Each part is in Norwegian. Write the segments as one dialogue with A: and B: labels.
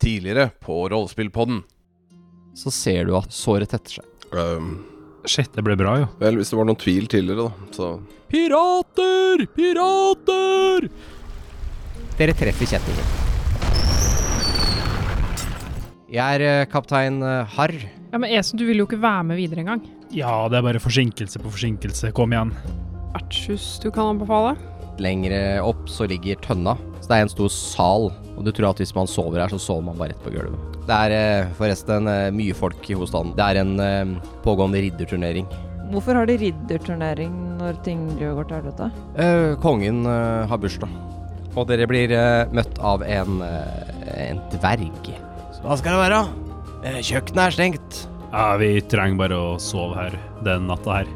A: tidligere på Rollespillpodden.
B: så ser du at såret tetter seg.
A: Ehm,
C: Shit, det ble bra, jo.
A: vel, hvis det var noen tvil tidligere, da, så
B: Pirater! Pirater! Dere treffer kjettinger. Jeg er eh, kaptein eh, Harr.
D: Ja, Men Esen, du vil jo ikke være med videre engang.
C: Ja, det er bare forsinkelse på forsinkelse. Kom igjen.
D: Vertshus du kan anbefale?
B: Lengre opp så ligger tønna. Så det er en stor sal, og du tror at hvis man sover her, så sover man bare rett på gulvet. Det er eh, forresten eh, mye folk i hovedstaden. Det er en eh, pågående ridderturnering.
E: Hvorfor har de ridderturnering når ting går til helvete?
B: Eh, kongen eh, har bursdag, og dere blir eh, møtt av en, eh, en dverg. Så hva skal det være? Eh, kjøkkenet er stengt.
C: Ja, vi trenger bare å sove her den natta her.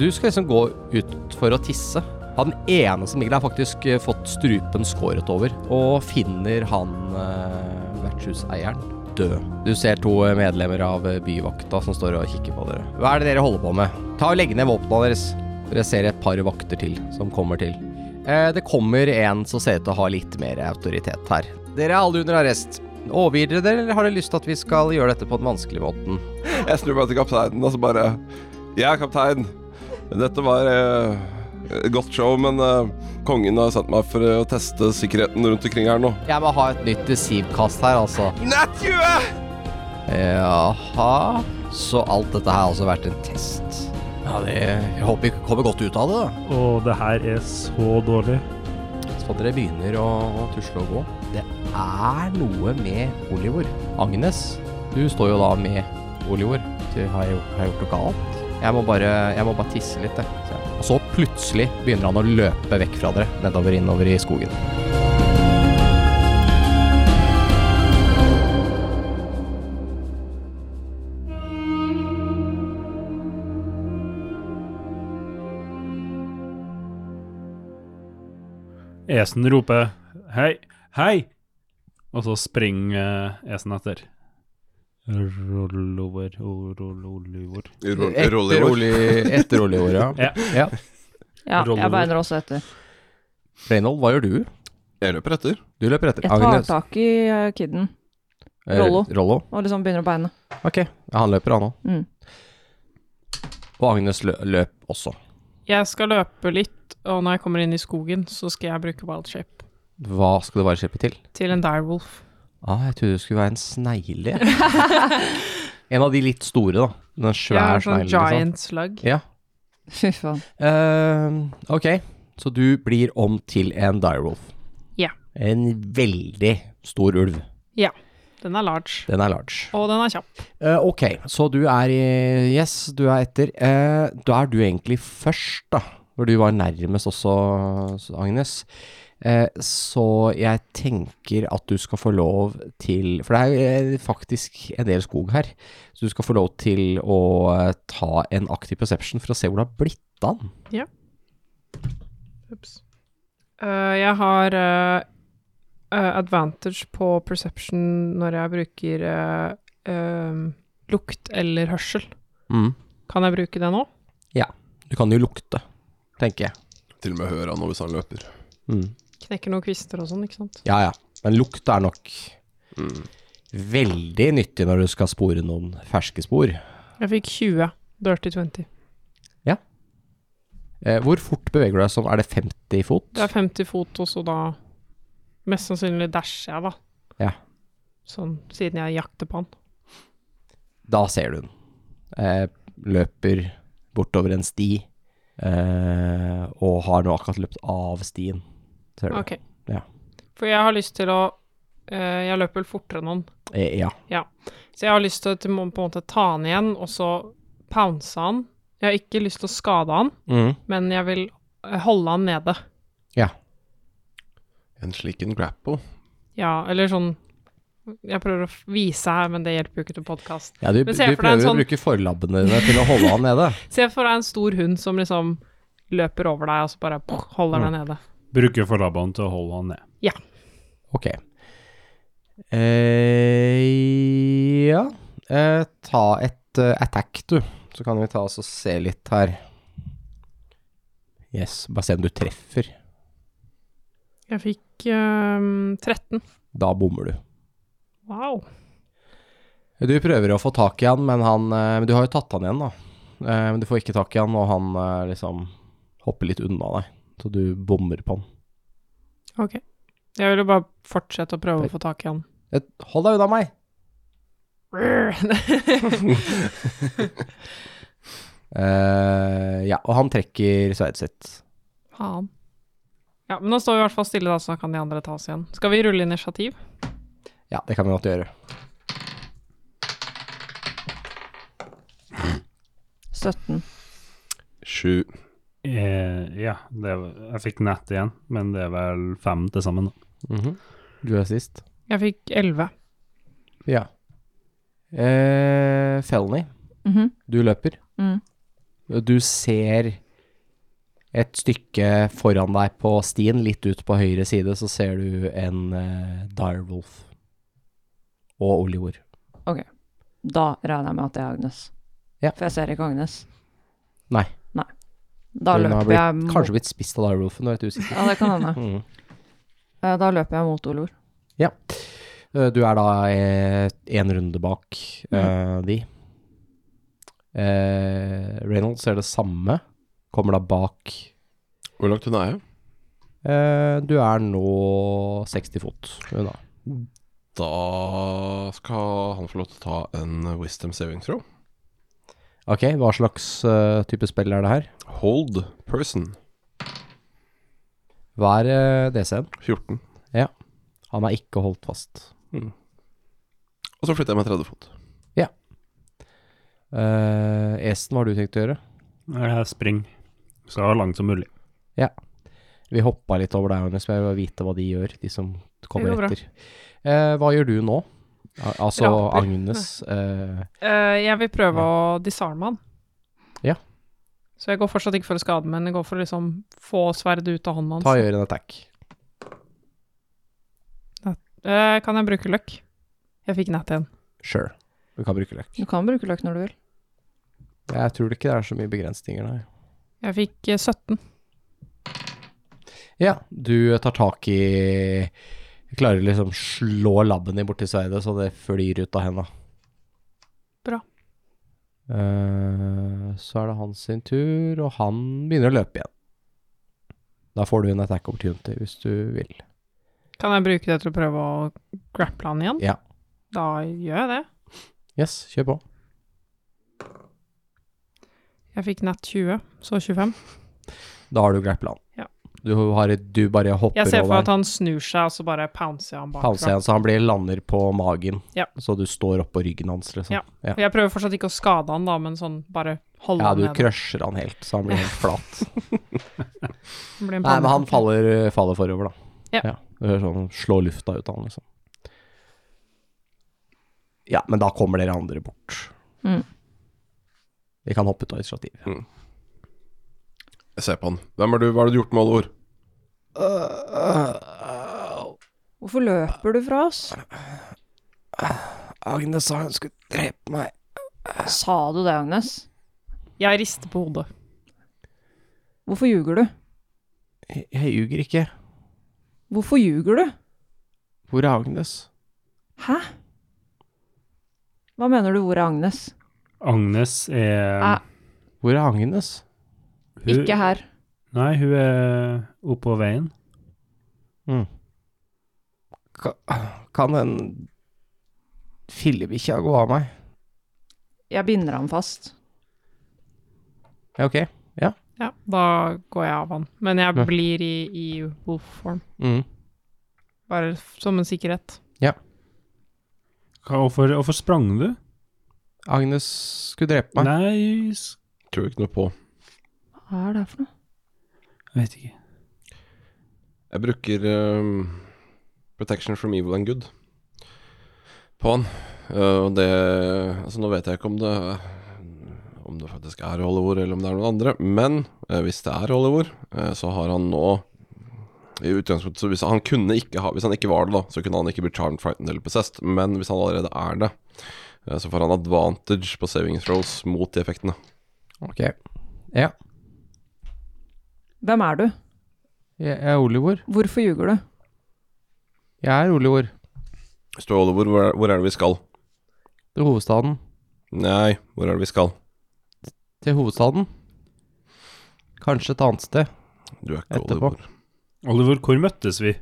B: Du skal liksom gå ut for å tisse. Han ene som ligger der, har faktisk eh, fått strupen skåret over, og finner han eh, vertshuseieren død. Du ser to eh, medlemmer av eh, byvakta som står og kikker på dere. Hva er det dere holder på med? Ta og Legg ned våpnene deres. Dere ser et par vakter til som kommer til. Eh, det kommer en som ser ut til å ha litt mer autoritet her. Dere er alle under arrest. Overgir dere dere, eller har dere lyst til at vi skal gjøre dette på den vanskelige måten?
A: Jeg snur meg til kapteinen og så bare Jeg er kaptein. Dette var eh, et godt show, men eh, kongen har sendt meg for eh, å teste sikkerheten rundt omkring her nå.
B: Jeg må ha et nytt deceivkast her, altså.
A: Nat 20!
B: Jaha Så alt dette her har altså vært en test Ja, det Jeg håper vi kommer godt ut av det da
C: Og det her er så dårlig.
B: Så dere begynner å, å tusle og gå Det er noe med Oliver Agnes, du står jo da med Oliver Du har jo har jeg gjort noe galt jeg må, bare, jeg må bare tisse litt jeg, sier han. Og så plutselig begynner han å løpe vekk fra dere Nedover innover i skogen
C: Esen roper 'hei, hei', og så springer eh, Esen etter. Rull over, o- rull over.
B: Etter Oli- Etter Oliver, ja
C: Ja.
B: Ja.
E: Ja,
C: Roller.
E: jeg beiner også etter.
B: Reynold, hva gjør du?
A: Jeg løper etter.
B: Du løper etter
E: Jeg tar tak i eh, kidden
B: Eh,
E: Rollo.
B: Rollo
E: og liksom begynner å beine.
B: Ok, ja, han løper han også
E: Mm.
B: Og Agnes lø løp også
D: Jeg skal løpe litt, og når jeg kommer inn i skogen, så skal jeg bruke wild shape
B: Hva skal du være skipet til?
D: til en direwolf.
B: Ah, jeg trodde det skulle være en snegle. en av de litt store, da. Den
D: Jeg
B: svære
D: er sånn
B: sneglen. liksom.
D: giant slug.
B: Ja.
E: Fy faen.
B: Eh, ok, så du blir om til en direwolf.
D: Ja.
B: En veldig stor ulv.
D: Den er large.
B: Den er large.
D: Og den er kjapp.
B: Eh, ok, så du er i Yes, du er etter. Eh, da er du egentlig først, da. Hvor du var nærmest også, Agnes. Eh, så jeg tenker at du skal få lov til For det er eh, faktisk en del skog her. Så du skal få lov til å eh, ta en aktiv perception for å se hvor det har blitt av den.
D: Ups. Eh, jeg har eh, eh, advantage på perception når jeg bruker eh, eh, lukt eller hørsel. Kan jeg bruke det nå?
B: Mm. Du kan jo lukte, tenker jeg.
A: Til og med hører han nå hvis han løper.
B: Mm.
D: Knekker noen kvister og sånn, ikke sant?
B: Ja ja. Men lukt er nok Mm. veldig nyttig når du skal spore noen ferske spor.
D: Jeg fikk 20. Dirty 20.
B: Eh, hvor fort beveger du deg som? Er det 50 fot?
D: Det er 50 fot, og så da Mest sannsynlig dasher jeg, da.
B: Ja.
D: Sånn siden jeg jakter på han.
B: Da ser du den. Eh, løper bortover en sti, eh, og har nå akkurat løpt av stien. Ser du.
D: Ok.
B: Ja.
D: For jeg har lyst til å eh, Jeg løper vel fortere enn han,
B: Eh, ja.
D: så jeg har lyst til å til må- på en måte ta han igjen, og så pounce han. Jeg har ikke lyst til å skade han, men jeg vil eh, holde han nede.
A: En slik en grapple.
D: Ja, eller sånn Jeg prøver å f- vise her, men det hjelper jo ikke til podkast.
B: ja du, du
D: Men se
B: prøver
D: for deg en
B: å
D: sånn-
B: bruke forlabbene dine til å holde han nede.
D: Se for deg en stor hund som liksom løper over deg, og så bare holder
B: Mm.
D: deg nede.
C: Bruker forlabbene til å holde han ned.
B: Ok. Eh, ja. Eh, ta et eh, attack, du. Så kan vi ta oss og se litt her. Yes, bare se om du treffer.
D: Jeg fikk eh, 13.
B: Da bommer du.
D: Wow.
B: Du prøver å få tak i han, men han eh, Men du har jo tatt han igjen, da. Eh, Men du får ikke tak i han, og han eh, liksom hopper litt unna deg. Så du bommer på han.
D: Ok. Jeg ville bare fortsette å prøve å få tak i han.
B: Et- Hold deg unna meg! Eh, ja, og han trekker sverdet sitt.
D: Faen. Ja, men nå står vi i hvert fall stille, da, så kan de andre ta oss igjen. Skal vi rulle initiativ?
B: Ja, det kan vi godt gjøre.
E: 17.
A: Sju.
C: Eh, ja, det er, jeg fikk nett igjen, men det er vel fem til sammen. da.
B: Mhm. Du er sist.
D: Jeg fikk 11.
B: Ja. Eh, Felny,
E: Mhm.
B: du løper.
E: Mm.
B: Du ser et stykke foran deg på stien, litt ut på høyre side, så ser du en eh, direwolf. Og Oliver.
E: Da regner jeg med at det er Agnes.
B: Ja.
E: For jeg ser ikke Agnes.
B: Nei.
E: Nei. Da
B: Hun har
E: løper
B: blitt-
E: jeg mot
B: Kanskje blitt spist av direwolfen, du er litt usikker.
E: Ja, det kan hende.
B: Mm.
E: Eh, Da løper jeg mot Olor.
B: Eh, Du er da eh, en runde bak eh,
E: Mm.
B: de. Eh, Reynolds er det samme. Kommer da bak
A: Hvor langt unna er jeg?
B: eh, Du er nå 60 fot unna.
A: Da skal han få lov til å ta en wisdom saving throw.
B: Ok, hva slags eh, type spill er det her?
A: Hold person.
B: Hva er eh, DC-en?
A: 14.
B: Han er ikke holdt fast.
A: Og så flytter jeg meg 30 fot.
B: Eh, Esen, hva har du tenkt å gjøre?
C: Eh, Spring. Så langt som mulig.
B: Vi hoppa litt over deg, Agnes, men jeg vil vite hva de gjør, de som kommer
D: Det går bra.
B: etter. Eh, hva gjør du nå? Al- Altså
D: Raper.
B: Agnes eh,
D: Eh, jeg vil prøve å disarme han.
B: Ja.
D: Så jeg går fortsatt ikke for å skade, men jeg går for å liksom få sverdet ut av hånden hans.
B: Ta og gjør en attack.
D: Eh, kan jeg bruke løkk? Jeg fikk nett igjen.
B: Sure. Du kan bruke løk.
E: Du kan bruke løk når du vil.
B: Jeg tror ikke det er så mye begrensninger, nei.
D: Jeg fikk eh, 17.
B: Ja, du tar tak i Klarer liksom slå labben din borti sverdet, så det flyr ut av henda.
D: Bra.
B: Eh, så er det hans sin tur, og han begynner å løpe igjen. Da får du en attack opportunity hvis du vil.
D: Kan jeg bruke det til å prøve å grapple han igjen?
B: Ja.
D: Da gjør jeg det.
B: Yes, kjør på.
D: Jeg fikk nett 20, så 25.
B: Da har du grappla han.
D: Ja.
B: Du, har, du bare hopper
D: Jeg ser for
B: over
D: at han snur seg, og så bare pouncer jeg han bakfra.
B: Pounce igjen, så han blir lander på magen.
D: Ja.
B: Så du står oppå ryggen hans, liksom. Ja.
D: Jeg prøver fortsatt ikke å skade han da, men sånn bare holde
B: Ja,
D: han
B: du
D: nede.
B: crusher han helt, så han blir helt flat.
D: Det blir en
B: Nei, men han
D: pannekakke.
B: faller, eh, faller forover, da.
D: Ja.
B: Du hører sånn slå lufta ut av han, liksom. Ja, men da kommer dere andre bort.
E: Mm.
B: Vi kan hoppe ut av initiativ.
A: Jeg ser på han. Hvem er du? Hva har du gjort med alle ord?
B: Øh,
E: Hvorfor løper du fra oss?
B: Agnes sa hun skulle drepe meg.
E: Sa du det, Agnes?
D: Jeg rister på hodet.
E: Hvorfor ljuger du?
B: Jeg, jeg ljuger ikke.
E: Hvorfor ljuger du?
B: Hvor er Agnes?
E: Hæ? Hva mener du, hvor er Agnes?
C: Agnes er
E: Ah,
B: Hvor er Agnes?
C: hun-
E: Ikke her.
C: Nei, hun er oppå veien.
B: Kan den fillebikkja gå av meg?
E: Jeg binder ham fast.
B: Ja, ok.
D: Ja, da går jeg av han. Men
B: Ja.
D: jeg blir i, i wolf-form.
B: Mm.
D: Bare f- som en sikkerhet.
C: Hva- Hvorfor, hvorfor sprang du?
B: Agnes skulle drepe meg.
C: Nei, s-
A: Tror ikke noe på.
E: Hva er det for noe?
C: jeg vet ikke.
A: Jeg bruker ehm, protection from evil and good på han. Eh, og det Altså, nå vet jeg ikke om det Om det faktisk er Hollywood, eller om det er noen andre. Men eh, hvis det er Hollywood, eh, så har han nå I utgangspunktet så hvis han kunne ikke ha Hvis han ikke var det, da, så kunne han ikke blitt charmed, frightened eller possessed. Men hvis han allerede er det, eh, så får han advantage på saving throws mot de effektene.
B: Ok.
E: Hvem er du?
B: Jeg, jeg er Olivor.
E: Hvorfor ljuger du?
B: Jeg er Olivor.
A: Står Oliver, hvor er, hvor er det vi skal?
B: Til hovedstaden.
A: Nei, hvor er det vi skal?
B: Til hovedstaden. Kanskje et annet sted.
A: Du er ikke
B: Etterpå.
A: Oliver.
C: Oliver, hvor møttes vi?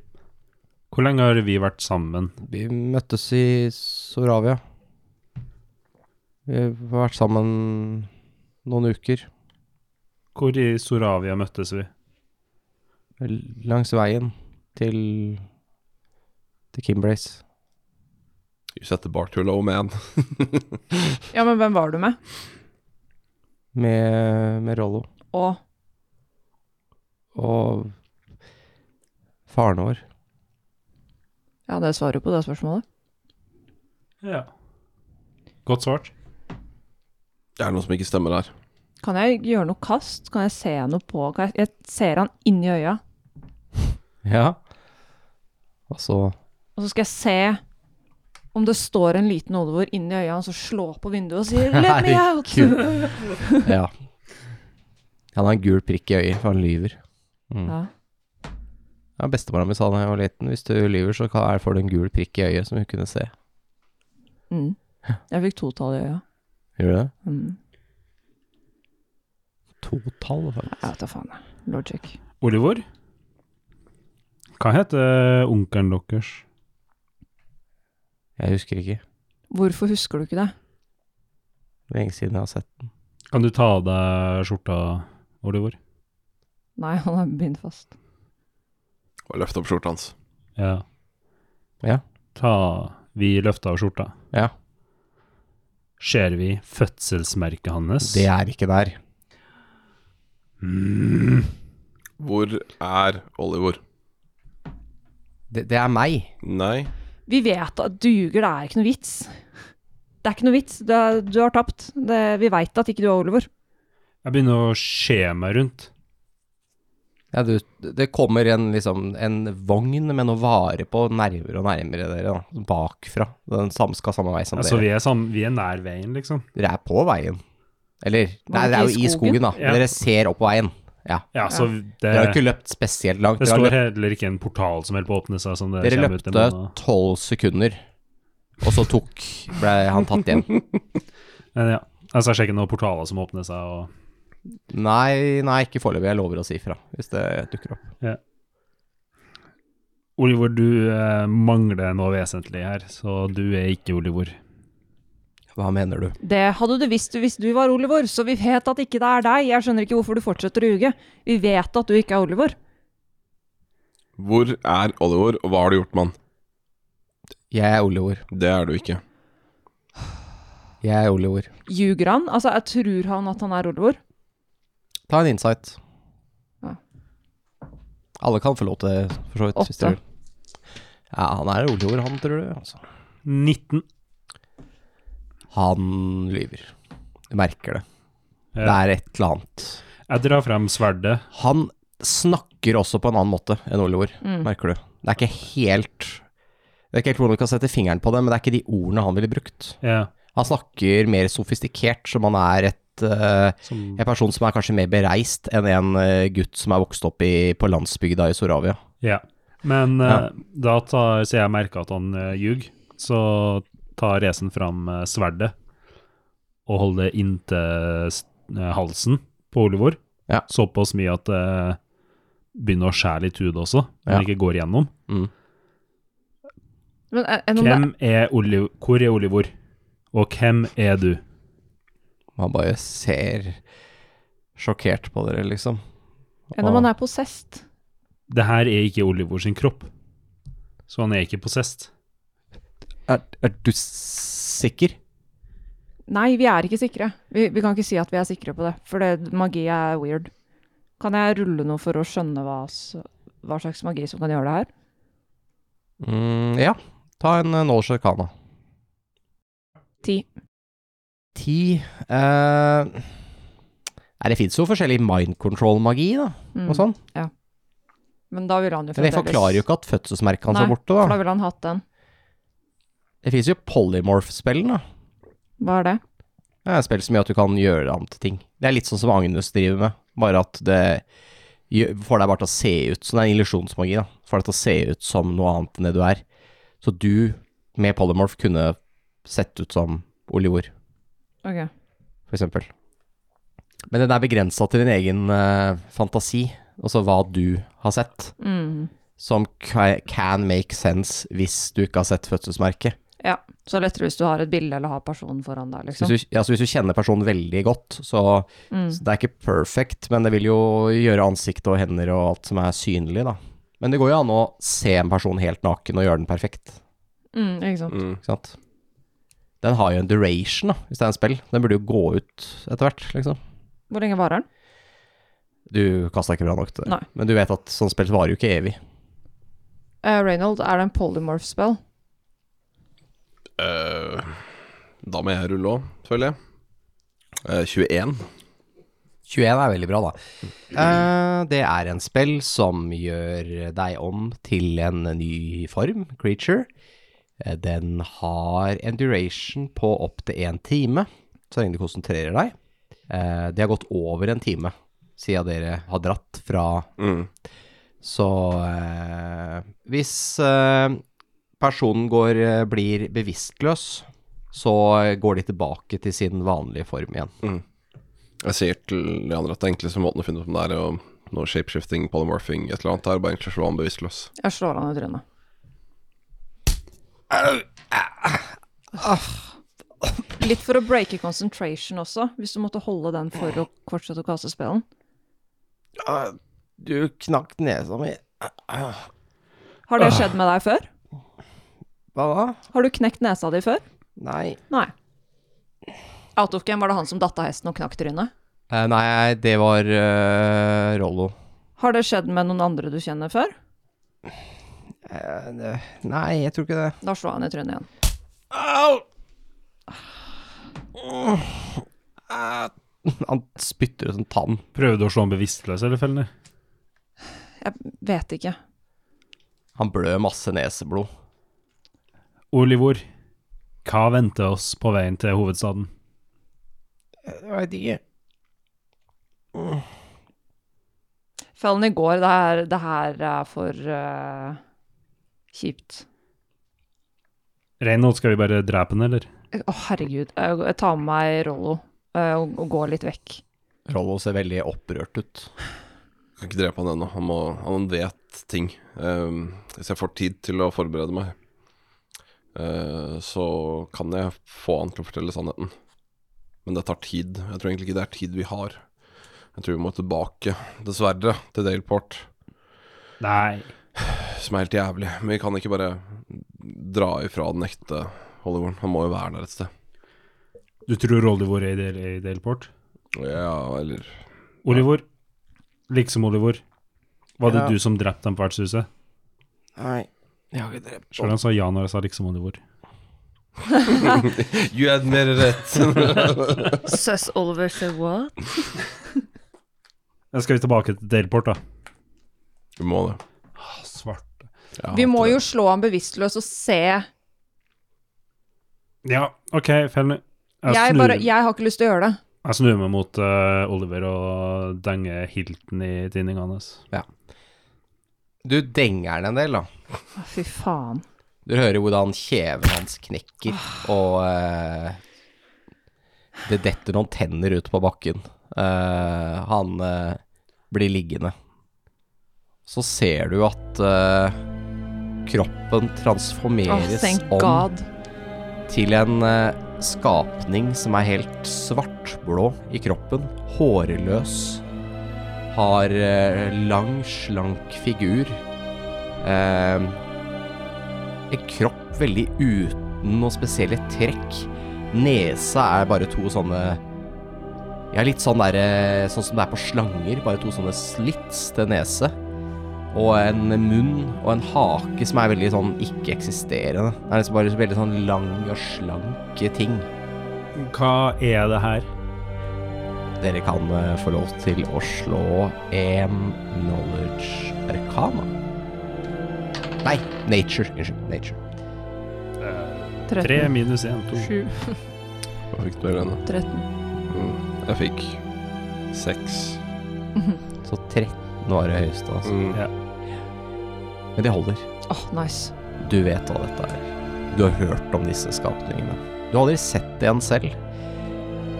C: Hvor lenge har vi vært sammen?
B: Vi møttes i Soravia. Vi har vært sammen noen uker
C: Hvor i Soravia møttes vi?
B: langs veien til til Kimblaze.
A: You set the bar too low, oh man.
E: Ja, men hvem var du med?
B: Med, med Rollo
E: Og
B: og faren vår.
E: Ja, det svarer jo på det spørsmålet.
C: Ja. Godt svart.
A: Det er noe som ikke stemmer her.
E: Kan jeg gjøre noe kast? Kan jeg se noe på Kan jeg, jeg ser han inn i øya,
B: Ja. Og så
E: og så skal jeg se om det står en liten Oliver inni øya, og så slår på vinduet og sier 'let me out'.
B: Herregud. Ja. Han har en gul prikk i øyet, for han lyver.
E: Ja.
B: Ja, Bestemora mi sa da jeg var liten, hvis du lyver, så kan- er- får du en gul prikk i øyet som hun kunne se.
E: Mm. Jeg fikk totall i øya.
B: Gjør du det?
E: Mm.
B: To tall, faktisk.
E: Jeg vet da faen. jeg. Logic.
C: Oliver? Hva heter onkelen deres?
B: Jeg husker ikke.
E: Hvorfor husker du ikke det?
B: Lenge siden jeg har sett
C: Kan du ta av deg skjorta, Oliver?
E: Nei, han er bindt fast.
A: Bare løft opp skjorta hans.
C: Ja.
B: Ja.
C: Ta Vi løfta av skjorta.
B: Ja.
C: Ser vi fødselsmerket hans?
B: Det er ikke der.
C: Mm.
A: Hvor er Oliver?
B: Det, det er meg.
A: Nei.
E: Vi vet at duger, det er ikke noe vits. Det er ikke noe vits. Det er, du har tapt. Det, vi veit at ikke du er Oliver.
C: Jeg begynner å se meg rundt.
B: Ja, du, det kommer en, liksom, en vogn med noe vare på nærmere og nærmere dere, da. Bakfra. Den samme skal samme vei som
C: Altså,
B: dere.
C: vi er, sam vi er nær veien, liksom.
B: Dere er på veien. Eller Nei,
E: det
B: dere er
E: ikke
B: jo i
E: i skogen?
B: skogen, da.
C: Ja.
B: Dere ser opp på veien. Ja.
C: Ja, så det,
B: Dere har ikke løpt spesielt langt.
C: det
B: Dere har
C: står heller ikke en portal som holder på å åpne seg. Som det
B: Dere
C: kommer ut en
B: løpte
C: måned.
B: tolv sekunder, og så tok ble han tatt igjen.
C: Men ja, altså, jeg ser ikke noen portaler som åpner seg. Og...
B: Nei, nei, ikke foreløpig. Jeg lover å si ifra hvis det dukker opp.
C: Oliver, du eh, mangler noe vesentlig her, så du er ikke Oliver.
B: Hva mener du?
E: Det hadde du visst hvis du var Oliver, så vi vet at ikke det er deg. Jeg skjønner ikke hvorfor du fortsetter å ljuge. Vi vet at du ikke er Oliver.
A: Hvor er Oliver, og hva har du gjort, mann?
B: Jeg er Oliver.
A: Det er du ikke.
B: Jeg er Oliver.
E: Ljuger han? Altså, jeg tror han at han er Oliver.
B: Ta en insight.
E: Ja.
B: Alle kan få lov til det, for så vidt. hvis
E: Åtte.
B: dere vil. Ja, han er Oliver, han, tror du. Altså.
C: 19.
B: Han lyver. Du merker det.
C: Ja.
B: Det er et eller annet.
C: Eh, Jeg drar frem sverdet.
B: Han snakker også på en annen måte enn Oliver,
E: Mm.
B: merker du. Det er ikke helt Det er ikke helt hvordan du kan sette fingeren på det, men det er ikke de ordene han ville brukt.
C: Ja,
B: Han snakker mer sofistikert, som han er et eh,
C: som,
B: en person som er kanskje mer bereist enn en eh, gutt som er vokst opp i, på landsbygda i Soravia.
C: ja. Men eh,
B: Ja.
C: da tar, ser jeg merket at han eh, ljug, så tar Resen frem eh, sverdet og holder det inntil s- eh, halsen på Oliver.
B: Ja.
C: Såpass mye at det begynner å skjære litt hud også, men
B: Ja.
C: ikke går igjennom.
E: Men eh, er, er noen der-
C: Hvem er Oliver? Hvor er Oliver? Og hvem er du?
B: Han bare ser sjokkert på dere, liksom.
E: er når man er possessed?
C: Det her er ikke Oliver sin kropp, så han er ikke possessed.
B: Er, er du sikker?
E: Nei, vi er ikke sikre. Vi, vi kan ikke si at vi er sikre på det, for det, magi er weird. Kan jeg rulle noe for å skjønne hva, s- hva slags magi som kan gjøre det her?
B: Mm, ja. Ta en uh, Knowledge Arcana.
E: Ti.
B: Ti eh, Nei, det fins jo forskjellig mind control-magi, da,
E: Mm.
B: og sånn.
E: Men da ville han jo
B: Men det forklarer jo ikke at fødselsmerket hans
E: Nei,
B: er borte,
E: For da
B: da.
E: ville han hatt den.
B: Det fins jo polymorph-spillen, da.
E: Hva er det?
B: Det er et spill som gjør at du kan gjøre det om til ting. Det er litt sånn som Agnes driver med, bare at det gjør- får deg bare til å se ut Så det er en illusjonsmagi, da. Får deg til å se ut som noe annet enn det du er. Så du med polymorph kunne sett ut som olivor,
E: Ok.
B: for eksempel. Men den er begrensa til din egen eh, fantasi, altså hva du har sett,
E: Mm.
B: som ca- can make sense hvis du ikke har sett fødselsmerket.
E: Ja. Så det er lettere hvis du har et bilde eller har personen foran deg,
B: Så
E: liksom.
B: Hvis, du, altså hvis du kjenner personen veldig godt, så,
E: Mm.
B: så det er ikke perfect, men det vil jo gjøre ansikt og hender og alt som er synlig, da. Men det går jo an å se en person helt naken og gjøre den perfekt.
E: Mm, ikke sant.
A: Mm.
B: Ikke sant? Den har jo en duration, da, hvis det er en spill. Den burde jo gå ut etter hvert, liksom.
E: Hvor lenge varer den?
B: Du kasta ikke bra nok til det.
E: Nei.
B: Men du vet at sånn spill varer jo ikke evig.
E: Eh, Reynold, er det en polymorph spell?
A: Eh, da må jeg rulle òg, føler jeg. Eh, 21.
B: 21 er veldig bra, da. Eh, det er en spill som gjør deg om til en ny form, creature. Eh, Den har en duration på opptil én time, så lenge du konsentrerer deg. Eh, Det har gått over en time siden dere har dratt fra
A: Mm.
B: Så eh, hvis eh, personen går, eh, blir bevisstløs, så går de tilbake til sin vanlige form igjen.
A: Jeg sier til de andre at det enkleste måten å finne ut om det er å noe shapeshifting, polymorphing, et eller annet, er bare egentlig å slå han bevisstløs.
E: Jeg slår han i trynet. Litt for å breake concentration også, hvis du måtte holde den for å fortsette å kaste spillen.
B: Du knakk nesa mi.
E: Har det skjedd med deg før?
B: Hva da?
E: Har du knekt nesa di før?
B: Nei.
E: Nei. Out of game var det han som datt av hesten og knakk trynet.
B: Eh, nei, det var eh, Rollo.
E: Har det skjedd med noen andre du kjenner før?
B: Eh, det- nei, jeg tror ikke det.
E: Da slår han i trynet igjen.
B: Au! Ah. Han spytter ut en tann.
C: Prøvde å slå han bevisstløs, eller, Felny?
E: Jeg vet ikke.
B: Han blør masse neseblod.
C: Olivor, hva venter oss på veien til hovedstaden?
B: Jeg veit ikke.
E: Fellen i går, det her, det her er for eh, kjipt.
C: Reinhold, skal vi bare drepe han, eller?
E: Å, herregud. Jeg, jeg tar med meg Rollo eh, og, og går litt vekk.
B: Rollo ser veldig opprørt ut.
A: Jeg kan ikke drepe han ennå. Han, må- han vet ting. Ehm, hvis jeg får tid til å forberede meg, eh, så kan jeg få han til å fortelle sannheten. Men det tar tid. Jeg tror egentlig ikke det er tid vi har. Jeg tror vi må tilbake, dessverre, til Daleport,
C: Nei.
A: som er helt jævlig. Men vi kan ikke bare dra ifra den ekte Hollywood. Han må jo være der et sted.
C: Du tror Olivor er i Del- i Delport?
A: Ja, eller
C: Olivor, liksom Olivor, var det
B: Ja.
C: du som drepte ham på vertshuset?
B: Nei, jeg har ikke drept
C: Selv om han sa ja når jeg sa liksom Olivor.
A: You had mer rett.
F: Sus Oliver said what?
C: Da skal vi tilbake til Delport, da.
A: vi må det.
B: Ah,
C: Svart.
A: Jeg
E: Vi må
A: hater
E: jo
A: det.
E: slå han bevisstløs og se.
C: Ja, OK, Felny. Jeg,
E: Jeg,
C: snur,
E: bare, jeg har ikke lyst til å gjøre det.
C: jeg snur meg mot eh, Oliver og denger Hilton i tinninga hans.
B: Du denger den en del, da.
E: Å, fy faen.
B: Du hører hvordan kjeven hans knekker, og eh, det detter noen tenner ut på bakken. Eh, han eh, blir liggende. Så ser du at eh, kroppen
E: Å,
B: transformeres
E: thank
B: om
E: god.
B: til en eh, skapning som er helt svartblå i kroppen, hårløs, har eh, lang, slank figur, eh, en kropp veldig uten noe spesielle trekk. Nesa er bare to sånne Ja, litt sånn der, eh, sånn som det er på slanger, bare to sånne slits til nese. Og en munn og en hake som er veldig sånn ikke-eksisterende. Det er liksom bare veldig sånn lang og slanke ting.
C: Hva er det her?
B: Dere kan eh, få lov til å slå en knowledge arcana. Nei, nature. Unnskyld. Nature.
C: Tre
E: 13.
C: minus én, to.
D: Sju.
A: Hva fikk du i øynene?
E: 13.
A: Mm. Jeg fikk seks.
B: Så 13 var det høyeste, altså.
A: Mm.
C: Ja.
B: Men det holder.
E: Åh, nice.
B: Du vet hva dette er. Du har hørt om disse skapningene. Du har aldri sett en selv.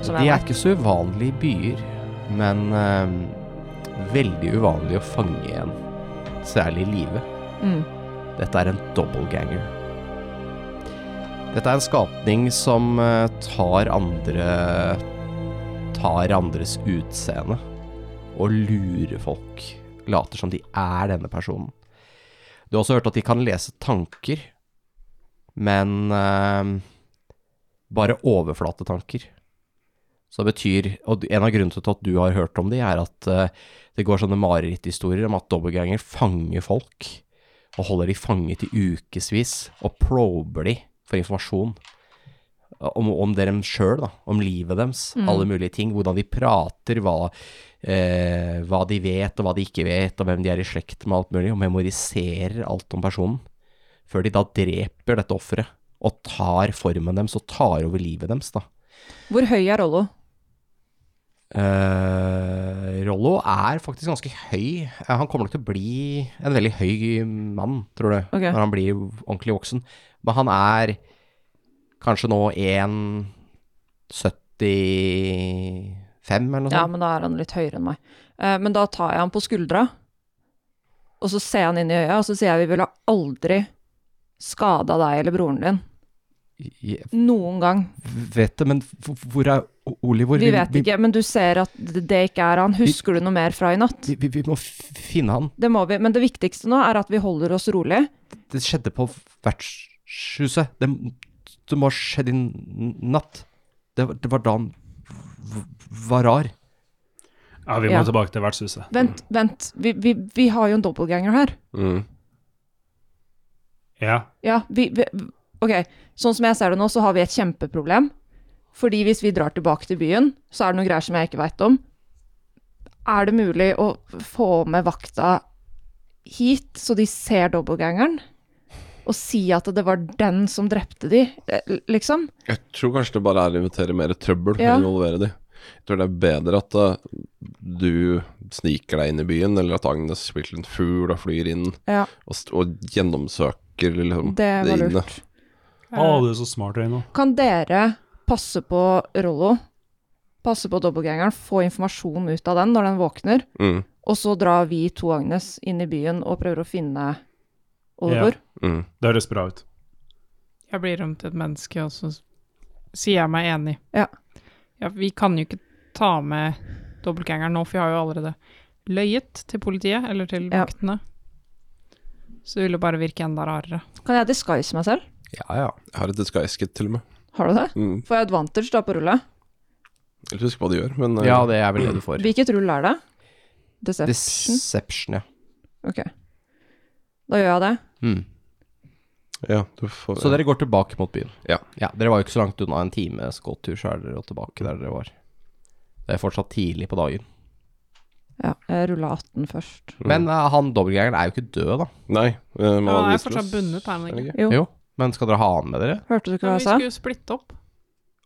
E: Som
B: De er
E: jeg vet.
B: ikke så uvanlige i byer, men eh, veldig uvanlig å fange en, særlig i live.
E: Mm.
B: Dette er en dobbelganger. Dette er en skapning som eh, tar andre tar andres utseende og lurer folk. Later som de er denne personen. Du har også hørt at de kan lese tanker, men eh, bare overflatetanker. Så det betyr, og en av grunnene til at du har hørt om de, er at eh, det går sånne mareritthistorier om at dobbeltganger fanger folk og holder de fanget i ukevis og prober de for informasjon eh, om, om dem sjøl, da, om livet deres, alle mulige ting, hvordan de prater, hva, eh, hva de vet og hva de ikke vet, og hvem de er i slekt med, alt mulig, og memoriserer alt om personen, før de da dreper dette offeret og tar formen deres og tar over livet deres, da.
E: Hvor høy er Rollo?
B: Eh, Rollo er faktisk ganske høy. Eh, Han kommer nok til å bli en veldig høy mann, tror du,
E: Ok.
B: når han blir ordentlig voksen. Men han er kanskje nå 1,75 eller noe
E: Ja,
B: sånt.
E: men da er han litt høyere enn meg. Eh, men da tar jeg han på skuldra, og så ser jeg han inn i øya, og så sier jeg vi ville aldri skada deg eller broren din.
B: Jeg
E: Noen gang.
B: vet det, men f- f- hvor er O- Oliver?
E: Vi vet ikke, men du ser at det det ikke er han. Husker du noe mer fra i natt?
B: Vi, vi, vi må f- finne han.
E: Det må vi, men det viktigste nå er at vi holder oss rolig.
B: Det skjedde på vertshuset. Det, det må ha skjedd i n- natt. Det, var- det var da han v- var rar.
C: Ja, vi må
E: Ja.
C: tilbake til vertshuset.
E: Vent, vent. Vi, vi, vi har jo en dobbeltganger her.
A: Mm.
C: Ja.
E: Ja, vi, vi Ok, sånn som jeg ser det nå, så har vi et kjempeproblem. Fordi hvis vi drar tilbake til byen, så er det noen greier som jeg ikke veit om. Er det mulig å få med vakta hit, så de ser dobbeltgangeren? Og si at det var den som drepte de, eh, liksom?
A: Jeg tror kanskje det bare er å invitere mer trøbbel
E: Ja.
A: enn å involvere de. Jeg tror det er bedre at eh, du sniker deg inn i byen, eller at Agnes spiller en fugl og flyr inn
E: Ja,
A: og, st og gjennomsøker liksom,
E: det var
A: inne.
E: lurt.
C: Å, du er så smart, Øyno.
E: Kan dere passe på Rollo? Passe på dobbeltgangeren, få informasjon ut av den når den våkner?
A: Mm,
E: Og så drar vi to Agnes inn i byen og prøver å finne Oliver.
A: mm.
C: Det høres bra ut.
D: Jeg blir om til et menneske, og så s- sier jeg meg enig.
E: Ja.
D: Ja, vi kan jo ikke ta med dobbeltgangeren nå, for vi har jo allerede løyet til politiet, eller til
E: Ja.
D: vaktene. Så det ville bare virke enda rarere.
E: Kan jeg disguise meg selv?
B: Ja, ja.
A: Jeg har et disguise-kit til og med.
E: Har du det?
A: Mm.
E: Får jeg advantage da på rullet?
A: Jeg vet ikke hva de gjør, men eh,
B: Ja, det er vel det du får.
E: Hvilket rull er det? Deception?
B: Deception, ja.
E: Ok. Da gjør jeg det.
B: Hmm.
A: ja, du får
B: Så dere går tilbake mot byen?
A: Ja.
B: Dere var jo ikke så langt unna en times gåtur, så er dere jo tilbake der dere var. Det er fortsatt tidlig på dagen.
E: Ja, jeg rulla 18 først.
B: Men eh, han dobbeltgjengeren er jo ikke død, da.
A: Nei. eh, man
D: Ja, han er
A: viser
D: fortsatt
A: oss,
D: bundet, er han
A: er det
D: ikke?
E: Jo.
B: Jo. Men skal dere ha han med dere?
E: Hørte du ikke
D: Men
E: hva
D: vi
E: jeg sa?
D: skulle jo splitte opp.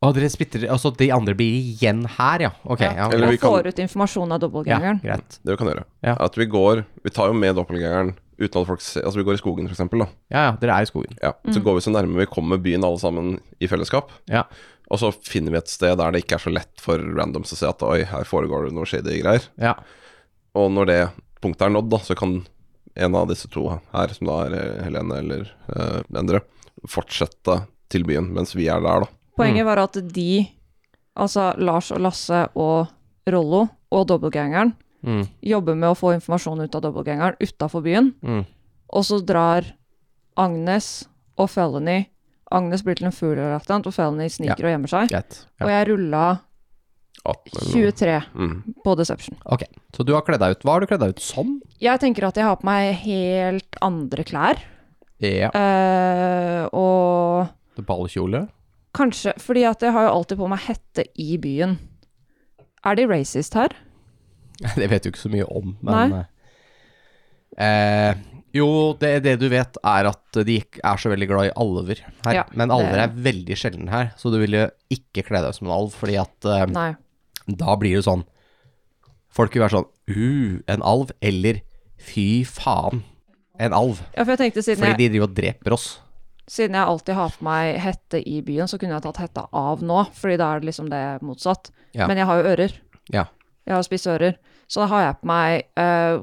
B: Å, dere splitter Altså, de andre blir igjen her, ja. Ok. Ja,
A: Eller vi
E: Jeg
A: kan-
E: får ut informasjon av
B: ja
E: dobbeltgangeren.
B: greit.
A: Det vi kan gjøre.
B: Ja.
A: At vi går Vi tar jo med doppelgangeren uten at folk ser Altså, vi går i skogen, for eksempel, da.
B: Ja, ja, dere er i skogen.
A: Ja. Så
E: Mm.
A: går vi så nærme vi kommer byen alle sammen i fellesskap.
B: Ja.
A: Og så finner vi et sted der det ikke er så lett for randoms å se at oi, her foregår det noe shady greier.
B: Ja.
A: Og når det punktet er nådd, da, så kan en av disse to her, som da er eh, Helene eller eh, Endre, fortsette til byen mens vi er der, da.
B: Mm.
E: Poenget var at de, altså Lars og Lasse og Rollo og dobbeltgangeren,
B: Mm.
E: jobber med å få informasjon ut av dobbeltgangeren utafor byen.
B: Mm.
E: Og så drar Agnes og Felony Agnes blir til en fugl, eller et eller annet, og Felony sniker og gjemmer seg.
B: Greit. Ja.
E: Og jeg rulla
A: 18 eller noe.
E: 23
A: Mm.
E: på Deception.
B: Ok. Så du har kledd deg ut. Hva har du kledd deg ut som?
E: Jeg tenker at jeg har på meg helt andre klær,
B: Ja.
E: eh, og
B: Ballkjole?
E: kanskje Fordi at jeg har jo alltid på meg hette i byen. Er de racist her?
B: Det vet du ikke så mye om, men eh, Jo, det, det du vet, er at de ikke er så veldig glad i alver her.
E: Ja,
B: men alver
E: det-
B: er veldig sjelden her, så du ville ikke kle deg ut som en alv, fordi at eh,
E: Nei.
B: da blir det sånn Folk vil være sånn Uh, en alv. Eller fy faen, en alv.
E: Ja, for jeg tenkte siden
B: Fordi
E: jeg
B: de driver og dreper oss.
E: Siden jeg alltid har på meg hette i byen, så kunne jeg tatt hetta av nå, fordi da er det liksom det motsatt.
B: Ja.
E: Men jeg har jo ører.
B: Ja.
E: Jeg har spisse ører. Så da har jeg på meg eh,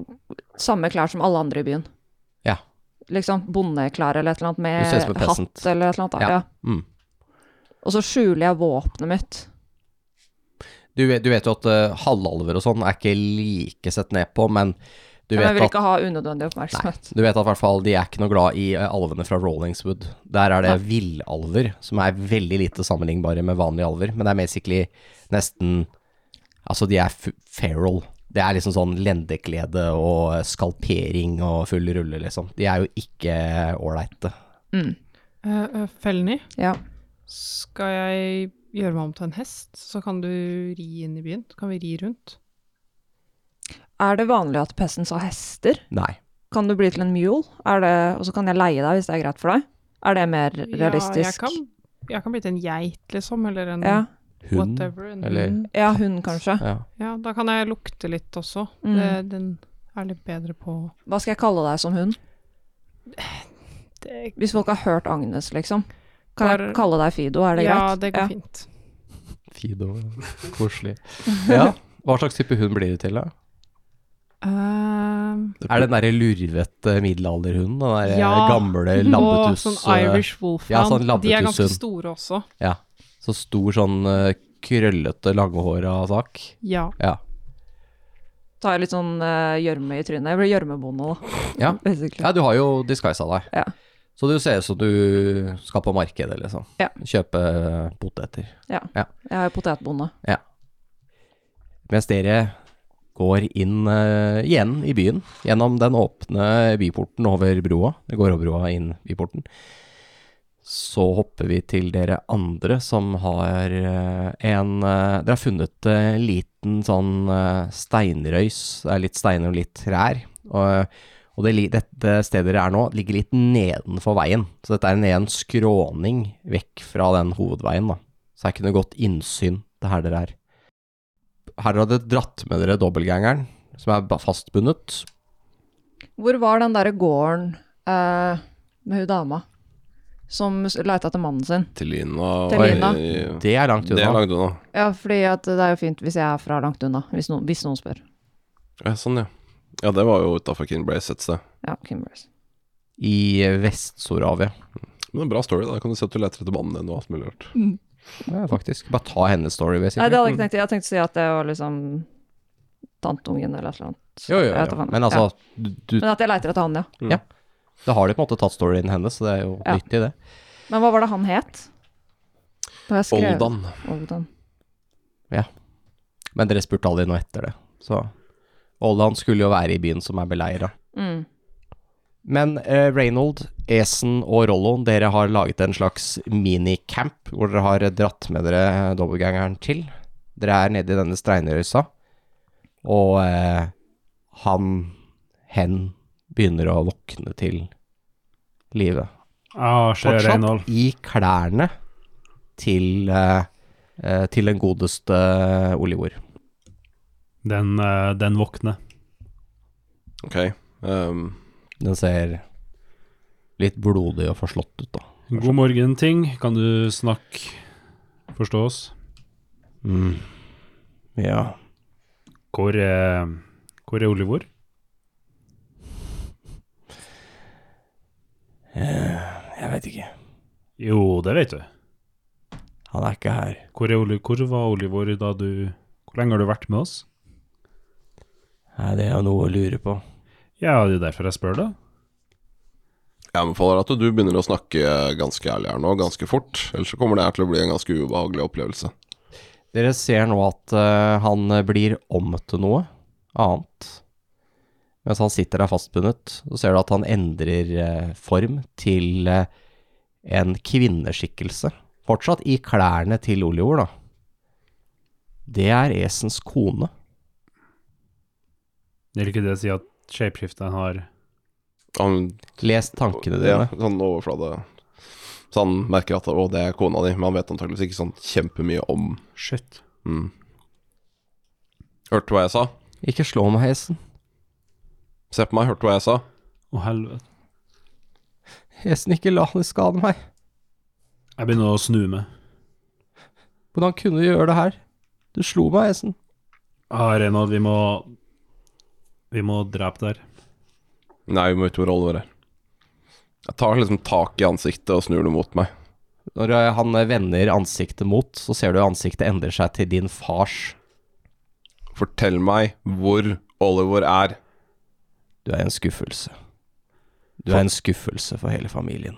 E: samme klær som alle andre i byen.
B: Ja.
E: Liksom bondeklær eller et eller
B: Du
E: annet
B: ser ut som
E: med
B: en peasant.
E: hatt eller et eller annet. da.
B: Ja.
E: Ja.
B: Mm.
E: Og så skjuler jeg våpenet mitt.
B: Du, vet- du vet jo at eh, halvalver og sånn er ikke like sett ned på, men du
E: Men jeg
B: vet
E: vil
B: at
E: ikke ha unødvendig oppmerksomhet.
B: du vet at i hvert fall de er ikke noe glad i eh, alvene fra Rollingswood. Der er det villalver, som er veldig lite sammenlignbare med vanlige alver. Men det er basically nesten Altså, de er f- feral. Det er liksom sånn lendeklede og eh, skalpering og full rulle, liksom. De er jo ikke ålreite.
D: Uh, Felny,
E: Ja.
D: skal jeg gjøre meg om til en hest, så kan du ri inn i byen? Så kan vi ri rundt?
E: Er det vanlig at peasants har hester?
B: Nei.
E: Kan du bli til en mule? Er det, og så kan jeg leie deg hvis det er greit for deg? Er det mer
D: Ja, jeg
E: realistisk?
D: kan, jeg kan bli til en geit, liksom, eller en
E: Ja,
B: Hund.
D: whatever. En
B: eller-
D: hund.
E: ja hund kanskje.
B: Ja.
D: Ja, da kan jeg lukte litt også.
E: Mm.
D: Det, den er litt bedre på
E: Hva skal jeg kalle deg som hund?
D: det,
E: Hvis folk har hørt Agnes, liksom. Kan
D: Bare-
E: jeg kalle deg Fido, er det
D: Ja,
E: greit?
D: det går fint.
B: Fido. Koselig. Ja. Hva slags type hund blir det til, da?
D: Ehm,
B: Er det den derre lurvete middelalderhunden? Den derre
D: Ja,
B: gamle
D: og
B: lammetuss
D: sånn
B: eh,
D: Irish Wolfhound.
B: ja, sånn
D: De er ganske
B: labbetusshund.
D: store også.
B: eh, Ja. Så stor sånn eh, krøllete, langhåra sak.
D: Ja.
B: Ja.
E: Tar jeg litt sånn eh, gjørme i trynet. Jeg blir gjørmebonde, da.
B: Ja.
E: Basically.
B: ja, du har jo disguisa deg.
E: Ja.
B: Så du ser ut som du skal på markedet, liksom.
E: Ja.
B: Kjøpe poteter.
E: Jeg er jo potetbonde.
B: Mens dere går inn eh, igjen i byen, gjennom den åpne byporten over broa, det går over broa inn byporten, så hopper vi til dere andre som har eh, en eh, Dere har funnet eh, en liten sånn eh, steinrøys, det er litt steiner og litt trær. Og, eh, og det, li- dette stedet dere er nå, ligger litt nedenfor veien, så dette er en, en skråning vekk fra den hovedveien, da. Så det er ikke noe godt innsyn, det her dere er. Her har dere dratt med dere dobbeltgangeren, som er ba- fastbundet.
E: Hvor var den derre gården eh, med hun dama som s- leita etter mannen sin?
A: Til Lina. og-
E: Til Lina.
A: i-
B: Det er langt
A: Det er
B: unna.
A: langt unna.
E: Ja, fordi at det er jo fint hvis jeg er fra langt unna, hvis, no, hvis noen spør.
A: Ja, sånn, ja. Ja, det var jo utafor Kinbrace et sted.
E: Ja, Kimbrels.
B: I Vest-Soravia,
A: Men det er en bra story, da. Kan du si at du leter etter mannen din og alt mulig rart.
B: ja, faktisk. Bare ta hennes story,
E: Nei, det
B: basically.
E: hadde jeg ikke tenkt. Jeg hadde tenkt å si at det var liksom tanteungen eller et eller annet.
B: Jo, jo,
E: Jeg vet da
B: jo.
E: faen.
B: Men
E: Ja.
B: altså, du, du,
E: Men at jeg leiter etter han, ja.
B: da har de på en måte tatt storyen hennes, så det er jo
E: Ja.
B: nyttig, det.
E: Men hva var det han het? Da jeg skrev-
A: Oldan.
E: Oldan.
B: Men dere spurte aldri noe etter det, så Oldan skulle jo være i byen som er beleira.
E: Mm.
B: Men eh, Reynold, Esen og Rollo, dere har laget en slags minicamp hvor dere har dratt med dere eh, dobbeltgangeren til. Dere er nede i denne steinrøysa, og eh, han, hen, begynner å våkne til livet.
C: Ah, skjer Reynold.
B: Fortsatt i klærne til, eh, eh, til den godeste eh, Olivor.
C: Den, eh, den våkne.
A: Ok. ehm,
B: Den ser litt blodig og forslått ut, da.
C: God morgen, ting. Kan du snakke? Forstå oss?
B: Mm. Ja.
C: Hvor, eh, hvor er Olivor?
B: Jeg veit ikke.
C: Jo, det vet du.
B: Han er ikke her.
C: Hvor, er Oli hvor var Olivor da du Hvor lenge har du vært med oss?
B: Nei, det er jo noe å lure på.
C: Ja, det er derfor jeg spør, da.
A: jeg anbefaler at du begynner å snakke ganske ærlig her nå, ganske fort. Ellers så kommer det her til å bli en ganske ubehagelig opplevelse.
B: Dere ser nå at eh, han blir om til noe annet. Mens han sitter der fastbundet, så ser du at han endrer eh, form til eh, en kvinneskikkelse. Fortsatt i klærne til Oljord, da. Det er Esens kone.
C: Vil ikke det si at shapeshiftet har
A: Han,
B: Les tankene
A: ja,
B: dine.
A: sånn overflate Så han merker at å, det er kona di, men han vet antakeligvis ikke sånn kjempemye om
C: Shit.
A: mm. Hørte du hva jeg sa?
B: Ikke slå meg, Esen.
A: Se på meg, hørte du hva jeg sa?
C: Å, helvete.
B: Hesten ikke la det skade meg.
G: Jeg begynner å snu meg.
B: Hvordan kunne du gjøre det her? Du slo meg, hesten.
G: Ah, Reynold, vi må Vi må drepe der.
A: Nei, vi må utover alvoret her. Jeg tar liksom tak i ansiktet og snur det mot meg.
B: Når eh, han vender ansiktet mot, så ser du ansiktet endrer seg til din fars.
A: Fortell meg hvor Oliver er.
B: Du er en skuffelse. Du er en skuffelse for hele familien.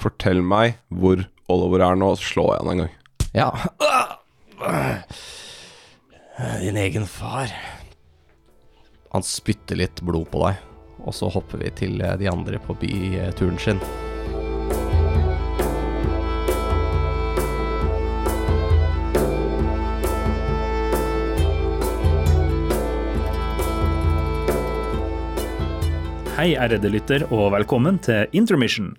A: Fortell meg hvor Oliver er nå, så slår jeg han en gang.
B: Ja. Din egen far. Han spytter litt blod på deg, og så hopper vi til eh, de andre på byturen sin.
C: Hei, ærede lytter, og velkommen til Intermission.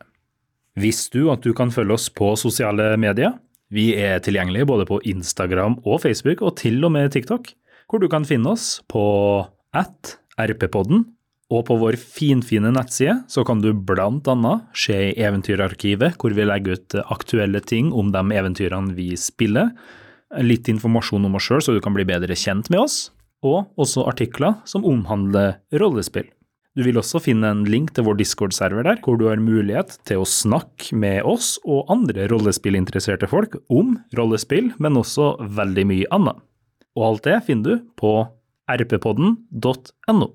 C: Visste du at du kan følge oss på sosiale medier? Vi er tilgjengelige både på Instagram og Facebook, og til og med TikTok, hvor du kan finne oss på at rppodden, og på vår finfine nettside så kan du blant annet se i Eventyrarkivet, hvor vi legger ut aktuelle ting om de eventyrene vi spiller, litt informasjon om oss sjøl, så du kan bli bedre kjent med oss, og også artikler som omhandler rollespill. Du vil også finne en link til vår Discord-server der, hvor du har mulighet til å snakke med oss og andre rollespillinteresserte folk om rollespill, men også veldig mye annet. Og alt det finner du på rppodden.no.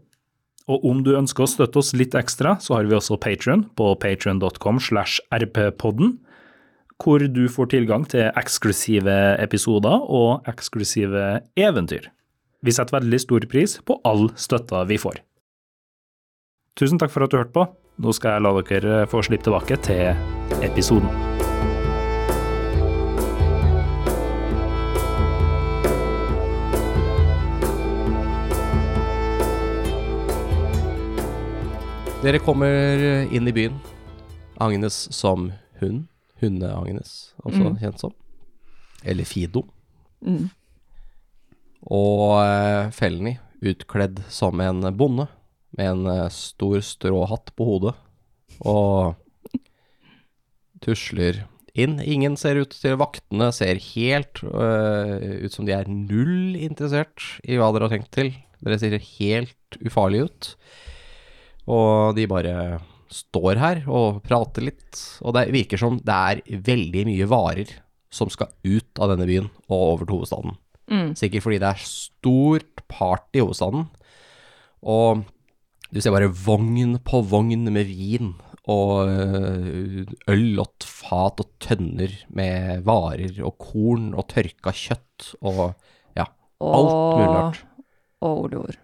C: Og om du ønsker å støtte oss litt ekstra, så har vi også Patron på patron.com slash rppodden, hvor du får tilgang til eksklusive episoder og eksklusive eventyr. Vi setter veldig stor pris på all støtta vi får. Tusen takk for at du hørte på. Nå skal jeg la dere få slippe tilbake til episoden.
B: Dere kommer inn i byen. Agnes som hund. Hunde-Agnes, også
E: Mm.
B: kjent som. Eller Fido.
E: Mm.
B: Og eh, Felny, utkledd som en bonde, med en eh, stor stråhatt på hodet, og tusler inn. Ingen ser ut til vaktene, ser helt eh, ut som de er null interessert i hva dere har tenkt til. Dere ser helt ufarlige ut, og de bare står her og prater litt, og det virker som det er veldig mye varer som skal ut av denne byen og over til hovedstaden. Sikkert fordi det er stort party i hovedstaden. Og du ser bare vogn på vogn med vin og øh, øl og t- fat og tønner med varer og korn og tørka kjøtt og ja, alt mulig rart.
E: Og Oliver.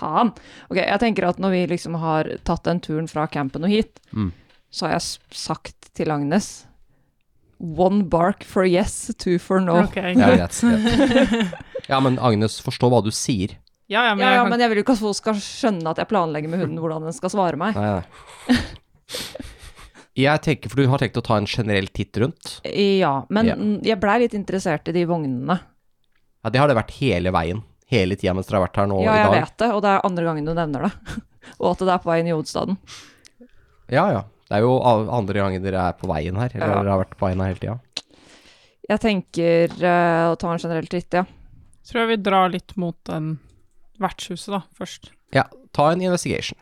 E: Faen. Ok, jeg tenker at når vi liksom har tatt den turen fra campen og hit,
B: Mm.
E: så har jeg s- sagt til Agnes One bark for yes, two for no.
D: Ok.
B: Det er greit. det. Ja, men Agnes, forstå hva du sier.
D: Ja, ja, men,
E: Ja, ja,
D: jeg kan...
E: men jeg vil jo ikke at folk skal skjønne at jeg planlegger med hunden hvordan den skal svare meg.
B: Nei, nei. Jeg tenker, for du har tenkt å ta en generell titt rundt.
E: Ja, men
B: Ja.
E: mm, jeg blei litt interessert i de vognene.
B: Ja, det har det vært hele veien. Hele tida mens dere har vært her nå
E: Ja,
B: i
E: jeg
B: dag.
E: vet det, og det er andre gangen du nevner det. Og at det er på vei inn i hovedstaden.
B: Ja, ja. Det er jo a- andre gangen dere er på veien her, eller
E: Ja.
B: dere har vært på veien her hele tida.
E: Jeg tenker eh, å ta en generell tritt, ja.
D: tror jeg vi drar litt mot den vertshuset da, først.
B: Ja, ta en investigation.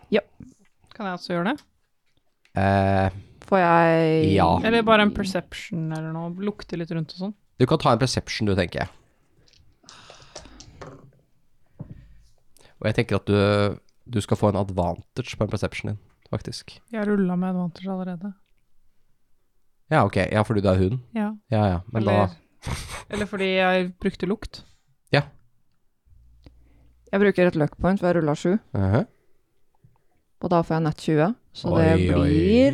D: Kan jeg også gjøre det?
B: Eh,
E: Får jeg
B: Ja.
D: Eller bare en perception eller noe, lukte litt rundt og sånn.
B: du kan ta en perception, du, tenker jeg. Og jeg tenker at du, du skal få en advantage på en perception din, faktisk.
D: Jeg rulla med advantage allerede.
B: Ja, ok. Ja, fordi du er hund.
D: Ja.
B: Ja, ja. Men
D: Eller,
B: da
D: eller fordi jeg brukte lukt.
E: Jeg bruker et luck point, for jeg rulla sju,
B: Aha.
E: og da får jeg nett 20. Så
B: Oi,
E: det
B: oi,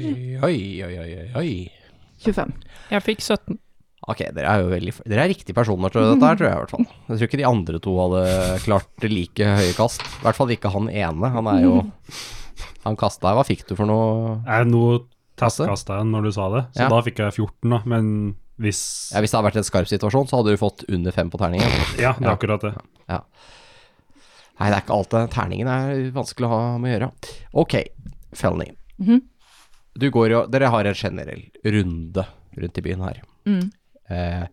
E: blir
B: Oi, oi, oi, oi, oi.
E: 25.
D: Jeg fikk 17.
B: Ok, dere er jo veldig Dere er riktige personer til dette her, tror jeg i hvert fall. Jeg tror ikke de andre to hadde klart like høye kast. I hvert fall ikke han ene. Han er jo Han kasta Hva fikk du for noe?
G: Jeg nå
B: Kaste?
G: testkasta jeg når du sa det, så
B: Ja.
G: da fikk jeg 14, da. Men hvis
B: Ja, Hvis det hadde vært en skarp situasjon, så hadde du fått under fem på terningen.
G: Ja, det er
B: Ja.
G: akkurat det.
B: Nei, det er ikke alt det. Terningen er vanskelig å ha med å gjøre. Ok, Felny.
E: Mhm.
B: Du går jo Dere har en generell runde rundt i byen her.
E: Mm.
B: Eh,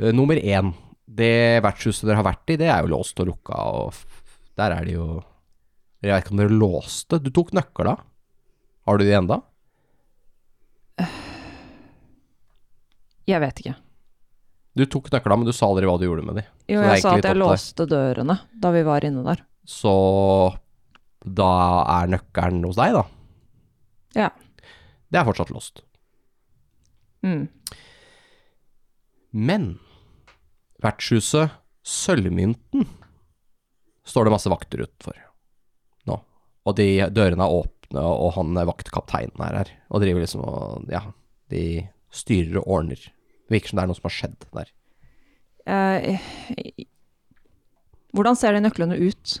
B: eh, nummer én. Det vertshuset dere har vært i, det er jo låst og lukka, og f- der er det jo Jeg vet ikke om dere låste. Du tok nøkkela. Har du de enda?
E: Jeg vet ikke.
B: Du tok nøkkela, men du sa aldri hva du gjorde med de.
E: Jo,
B: Så det er
E: jeg sa
B: egentlig
E: at jeg
B: litt opp
E: låste dørene da vi var inne der.
B: Så da er nøkkelen hos deg, da.
E: Ja.
B: Det er fortsatt låst.
E: Mm.
B: Men vertshuset Sølvmynten står det masse vakter utenfor nå. Og de dørene er åpne, og han eh, vaktkapteinen er her. Og driver liksom og Ja, de styrer og ordner. Det virker som det er noe som har skjedd der.
E: Eh, hvordan ser de nøklene ut?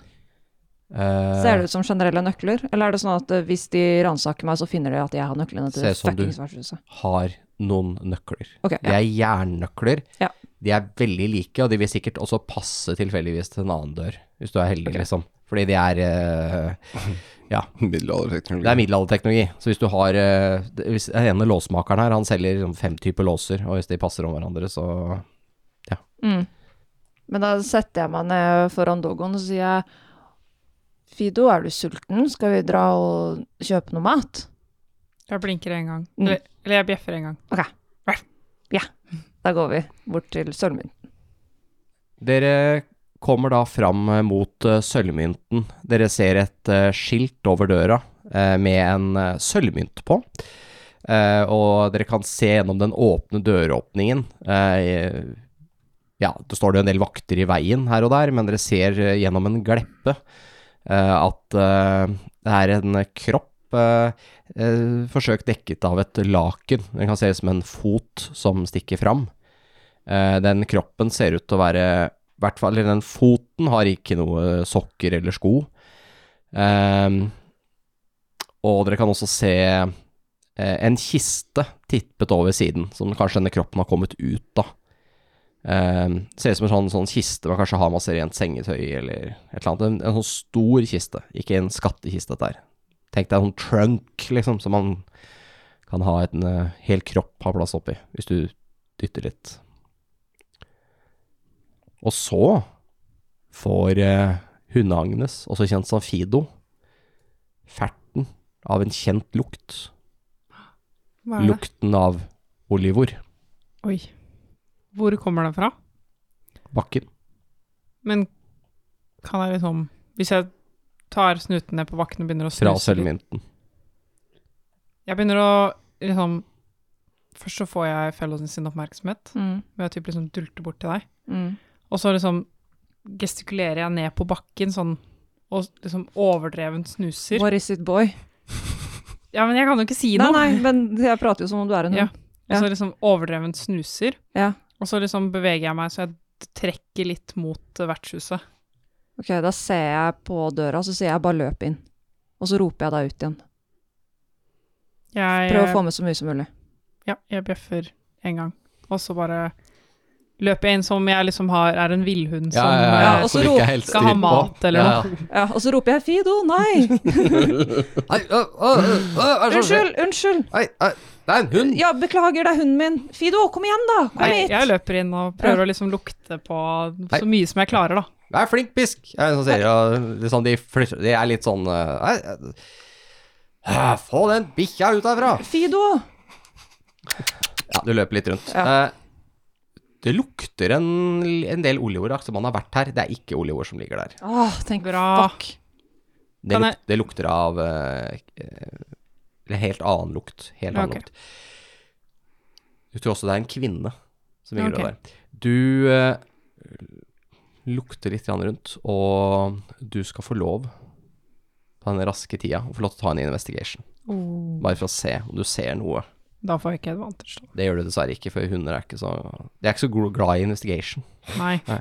B: Eh,
E: Ser det ut som generelle nøkler? Eller er det sånn at eh, hvis de ransaker meg, så finner de at jeg har nøklene til
B: Ser sånn du-
E: fuckings vertshuset?
B: Har noen nøkler.
E: Ok,
B: Det
E: ja.
B: er jernnøkler.
E: Ja.
B: De er veldig like, og de vil sikkert også passe tilfeldigvis til en annen dør, hvis du er heldig, liksom. Fordi de er eh,
A: Middelalderteknologi.
B: Det er middelalderteknologi. Så hvis du har eh, det- hvis Den ene låsmakeren her, han selger liksom fem typer låser, og hvis de passer om hverandre, så
E: Mm. Men da setter jeg meg ned foran dogoen og sier jeg, Fido, er du sulten? Skal vi dra og kjøpe noe mat?
D: Jeg blinker en gang.
E: Mm.
D: Eller, eller jeg bjeffer en gang.
E: Da går vi bort til Sølvmynt.
B: Dere kommer da fram eh, mot eh, sølvmynten. Dere ser et eh, skilt over døra eh, med en eh, sølvmynt på. Eh, og dere kan se gjennom den åpne døråpningen. Eh, ja, det står det en del vakter i veien her og der, men dere ser eh, gjennom en gleppe eh, at eh, det er en kropp eh, eh, forsøkt dekket av et laken. Den kan se ut som en fot som stikker fram. Eh, Den kroppen ser ut til å være I hvert fall eller den foten har ikke noe eh, sokker eller sko. Ehm, og dere kan også se eh, en kiste tippet over siden, som kanskje denne kroppen har kommet ut av. Ehm, ser ut som en sånn, sånn kiste man kanskje har masse rent sengetøy i, eller et eller annet. En, en sånn stor kiste, ikke en skattekiste dette her. Tenk deg en sånn trunk, liksom, som man kan ha en eh, hel kropp ha plass oppi, hvis du dytter litt. Og så får eh, hundeagnes, også kjent som Fido, ferten av en kjent lukt.
D: Hva er det?
B: Lukten av olivor.
D: Oi. Hvor kommer den fra?
B: Bakken.
D: Men kan jeg liksom Hvis jeg tar snuten ned på bakken og begynner å
B: Fra
D: snuse litt
B: sølvmynten.
D: Jeg begynner å liksom Først så får jeg fellowen sin oppmerksomhet
E: Mm.
D: ved at jeg typ liksom dulter bort til deg.
E: Mm.
D: Og så liksom gestikulerer jeg ned på bakken sånn og liksom overdrevent snuser.
E: What is it, boy?
D: Ja, men jeg kan jo ikke si
E: Nei,
D: noe.
E: nei, men jeg prater jo som om du er en
D: Ja.
E: hund.
D: Og så liksom overdrevent snuser.
E: Ja.
D: Og så liksom beveger jeg meg, så jeg trekker litt mot eh, vertshuset.
E: Ok, da ser jeg på døra, så sier jeg bare løp inn. Og så roper jeg deg ut igjen.
D: Jeg,
E: Prøv å få med så mye som mulig.
D: Ja, jeg bjeffer en gang. Og så bare løper jeg inn som om jeg liksom har, er en villhund som
E: ja,
D: eh,
E: og så
B: som du
E: ro-
B: ikke er helt
D: skal ha
B: styr på.
D: mat eller
B: Ja, ja.
E: Ja, og så roper jeg 'Fido, nei!
B: Nei, å, å, å, å, hva er det som skjer?
E: Unnskyld, unnskyld!
B: Nei, nei, det er en hund!
E: Ja, beklager, det er hunden min! Fido, kom igjen, da! Kom
D: Nei,
E: hit!
D: jeg løper inn og prøver å liksom lukte på så mye som jeg klarer, da.
B: Det er flink pisk! Jeg er en som sier, ja, liksom, de, flytter, de er litt sånn eh, nei, eh, Få den bikkja ut herfra!
E: Fido!
B: Ja, du løper litt rundt. Eh, det lukter en, en del oljeord, som man har vært her. Det er ikke oljeord som ligger der.
E: Åh, tenk
D: Bra.
E: Fuck.
B: Det,
D: Kan jeg-
B: luk, det lukter av eh, eh, Eller helt annen lukt. Helt annen
D: Ok.
B: lukt. Du tror også det er en kvinne som ligger
D: Ok.
B: der. Du eh, lukter litt grann rundt, og du skal få lov på den raske tida å få lov til å ta en investigation.
E: Oh.
B: Bare for å se om du ser noe.
D: Da får jeg ikke advantage, da.
B: Det gjør du dessverre ikke, for hunder er ikke så De er ikke så gro- glad i investigation. Nei.
D: Nei.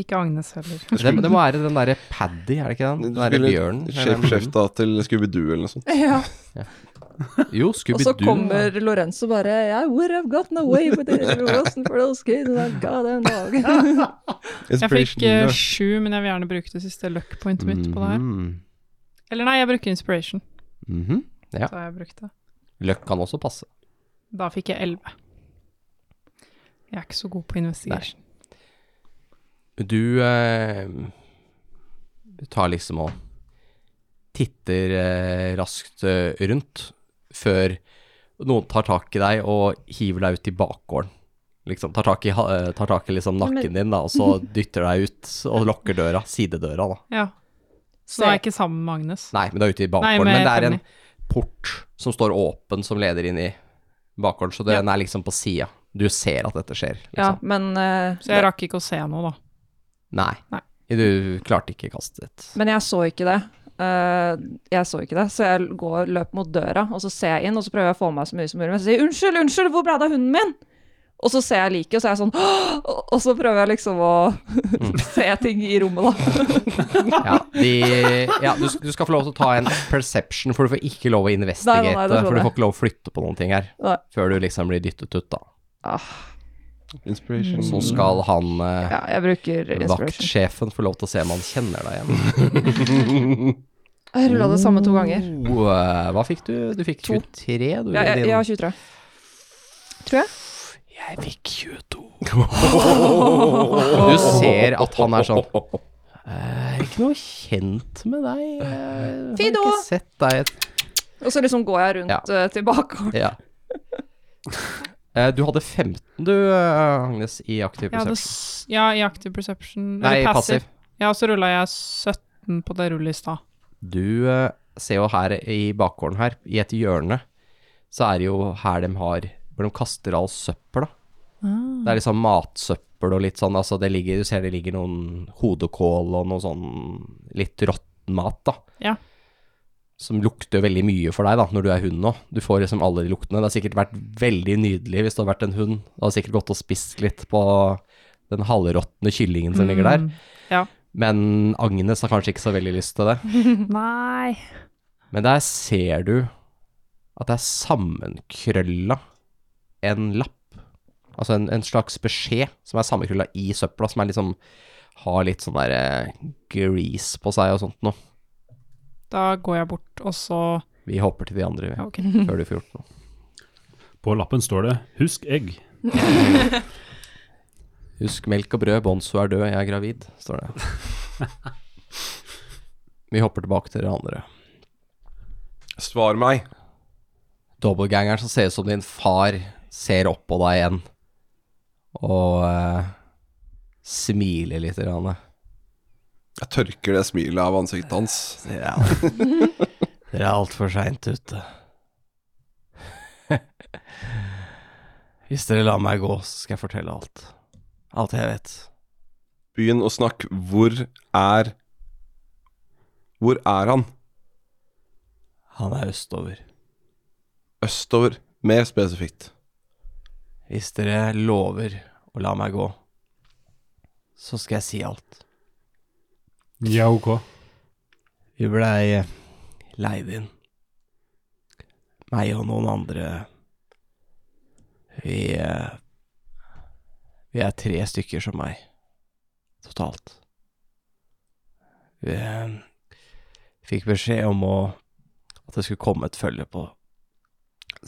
D: Ikke Agnes heller.
B: Det, det må være den derre Paddy, er det ikke den? Den derre bjørnen? eller den-
A: Skjefta til Scooby-Doo eller noe sånt.
E: Ja.
B: Jo,
E: Og så
B: Scooby-Doo.
E: kommer Lorenzo bare I would have gotten away with it if it wasn't for those kids that got them dog.
D: Jeg fikk eh, sju, men jeg vil gjerne bruke det siste luck pointet mitt på det her.
B: Mhm.
D: Eller nei, jeg bruker inspiration.
B: Mhm. Ja.
D: Så jeg brukte.
B: Løkk kan også passe.
D: Da fikk jeg elleve. Jeg er ikke så god på investigation.
B: Du eh, tar liksom og titter eh, raskt eh, rundt før noen tar tak i deg og hiver deg ut i bakgården. Liksom, tar tak i, ha- eh, tar tak i liksom nakken din, da, og så dytter deg ut og lokker døra, sidedøra. da.
D: Ja. Så nå er jeg ikke sammen med Agnes.
B: Nei, men du er ute i
D: Nei,
B: bakgården.
D: men
B: Men det er
D: jeg
B: en port som står åpen, som leder inn i bakgården, så den er liksom på sida. Du ser at dette skjer.
E: Ja,
B: liksom.
E: men, eh,
D: Så jeg rakk ikke å se noe, da.
B: Nei.
D: Nei.
B: Du klarte ikke kastet ditt.
E: men jeg så ikke det. Eh, jeg så ikke det, så jeg går, løp mot døra, og så ser jeg inn, og så prøver jeg å få med meg så mye som mulig. Men så sier jeg 'unnskyld, unnskyld, hvor ble det av hunden min?' Og så ser jeg liket, og så er jeg sånn «Åh!» Og så prøver jeg liksom å
D: Mm.
E: se ting i rommet, da.
B: Ja, de, ja du, du skal få lov til å ta en perception, for du får ikke lov å investigate.
E: Nei, nei, nei, det skjønner
B: for du
E: jeg.
B: får ikke lov å flytte på noen ting her,
E: Nei.
B: før du liksom blir dyttet ut, da.
A: Inspiration.
B: Og så
D: Mm.
B: skal han, eh,
E: Ja, jeg bruker inspiration.
B: vaktsjefen, få lov til å se om han kjenner deg igjen.
E: Jeg rulla det samme to ganger.
B: Oh, eh, hva fikk du? Du fikk 23, du.
E: Ja, jeg,
B: din-
E: jeg har 23. Tror jeg.
B: Jeg fikk 22. Du ser at han er sånn Jeg er Eh, ikke noe kjent med deg. eh, Jeg
E: Fido!»
B: har ikke sett deg et
E: Og så liksom går jeg rundt
B: Ja.
E: eh, til bakgården.
B: Ja. Eh, Du hadde 15, du, eh, Agnes, i aktiv
D: Jeg hadde
B: perception.
D: s ja, i active perception.
B: Nei,
D: Eller
B: passiv.
D: Ja, og så rulla jeg 17 på det rullet i stad.
B: Du eh, ser jo her i bakgården her, i et hjørne, så er det jo her de har Hvor de kaster all søppel, da.
D: Ah.
B: Det er liksom matsøppel og litt sånn, altså det ligger Du ser det ligger noen hodekål og noe sånn litt råtten mat, da.
D: Ja.
B: Som lukter veldig mye for deg, da, når du er hund nå. Du får liksom alle de luktene. Det har sikkert vært veldig nydelig hvis det hadde vært en hund. Det har sikkert gått og spist litt på den halvråtne kyllingen som ligger der.
D: Mm, ja.
B: Men Agnes har kanskje ikke så veldig lyst til det.
D: Nei
B: Men der ser du at det er sammenkrølla en lapp. Altså en, en slags beskjed som er sammenkrølla i søpla, som er liksom har litt sånn der eh, grease på seg og sånt noe.
D: Da går jeg bort, og så
B: Vi hopper til de andre vi,
D: ja, ok.
B: før du får gjort noe.
C: På lappen står det 'husk egg'.
B: Husk melk og brød, Bonzo er død, jeg er gravid, står det. Vi hopper tilbake til dere andre.
A: Svar meg.
B: Dobbeltgangeren som ser ut som din far, ser opp på deg igjen og eh, smiler litt. Rane.
A: Jeg tørker det smilet av ansiktet hans.
B: Ja. Dere er altfor seint ute. Hvis dere lar meg gå, så skal jeg fortelle alt. Alt jeg vet.
A: Begynn å snakke. Hvor er Hvor er han?
B: Han er østover.
A: Østover. Mer spesifikt.
B: Hvis dere lover å la meg gå, så skal jeg si alt.
C: Ja, ok.
B: Vi blei leid inn. Meg og noen andre. Vi eh, Vi er tre stykker som meg. Totalt. Vi eh, fikk beskjed om å at det skulle komme et følge på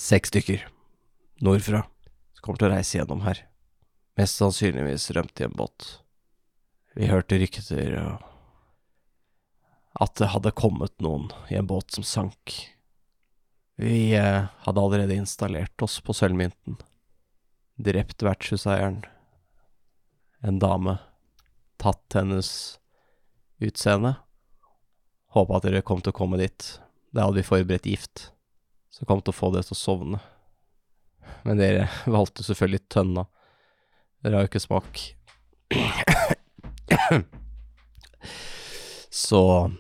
B: seks stykker nordfra som kommer til å reise gjennom her. Mest sannsynligvis rømte i en båt. Vi hørte rykter og at det hadde kommet noen i en båt som sank. Vi eh, hadde allerede installert oss på sølvmynten. Drept vertshuseieren. En dame. Tatt hennes utseende. Håpa at dere kom til å komme dit. Da hadde vi forberedt gift, som kom til å få dere til å sovne. Men dere valgte selvfølgelig tønna. Dere har jo ikke smak. Så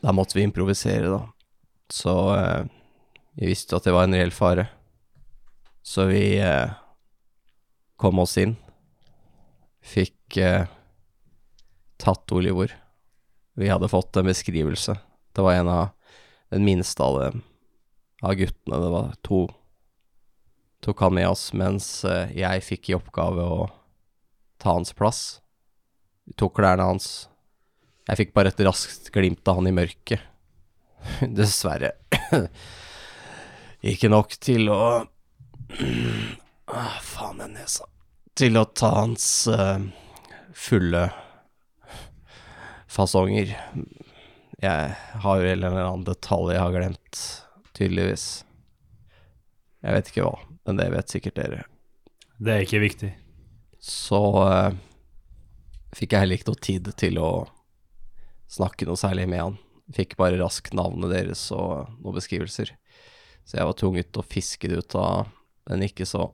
B: da måtte vi improvisere, da. Så eh, vi visste jo at det var en reell fare. Så vi eh, kom oss inn. Fikk eh, tatt Olivor. Vi hadde fått en beskrivelse. Det var en av den minste av dem av guttene. Det var to tok han med oss, mens eh, jeg fikk i oppgave å ta hans plass. Vi tok klærne hans. Jeg fikk bare et raskt glimt av han i mørket. Dessverre. Ikke nok til å ah, Faen, den nesa. Til å ta hans eh, fulle fasonger. Jeg har jo en eller annen detalj jeg har glemt, tydeligvis. Jeg vet ikke hva, men det vet sikkert dere.
C: Det er ikke viktig.
B: Så eh, fikk jeg heller ikke noe tid til å snakke noe særlig med han. Fikk bare raskt navnet deres og noen beskrivelser. Så jeg var tvunget til å fiske det ut av den ikke så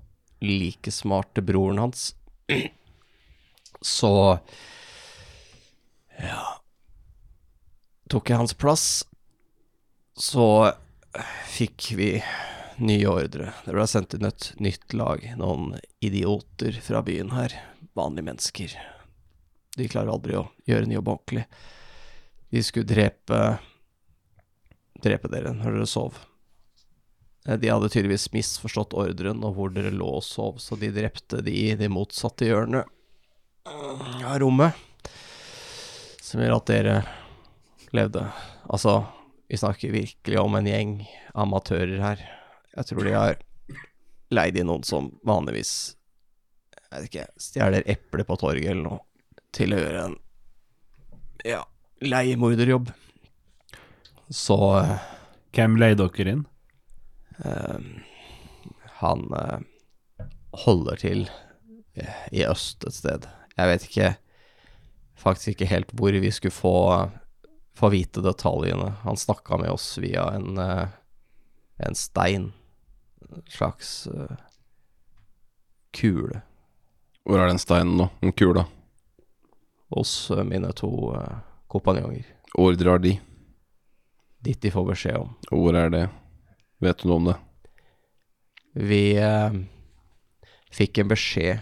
B: like smarte broren hans. Så ja tok jeg hans plass. Så eh, fikk vi nye ordre. Det ble sendt inn et nytt lag, noen idioter fra byen her. Vanlige mennesker. De klarer aldri å gjøre en jobb ordentlig. De skulle drepe drepe dere når dere sov. Eh, De hadde tydeligvis misforstått ordren og hvor dere lå og sov, så de drepte de i det motsatte hjørnet eh, av rommet. Som gjør at dere levde. Altså, vi snakker virkelig om en gjeng amatører her. Jeg tror de har leid inn noen som vanligvis jeg vet ikke, stjeler epler på torget eller noe, til å gjøre en ja, leiemorderjobb. Så
C: Hvem leide dere inn?
B: eh, han eh, holder til eh, i øst et sted. Jeg vet ikke faktisk ikke helt hvor vi skulle få, få vite detaljene. Han snakka med oss via en, eh, en stein. En slags eh, kule.
A: Hvor er den steinen nå? Den kula?
B: hos eh, mine to eh, kompanjonger.
A: Ordre har de.
B: Dit de får beskjed om.
A: Og hvor er det? Vet du noe om det?
B: Vi eh, fikk en beskjed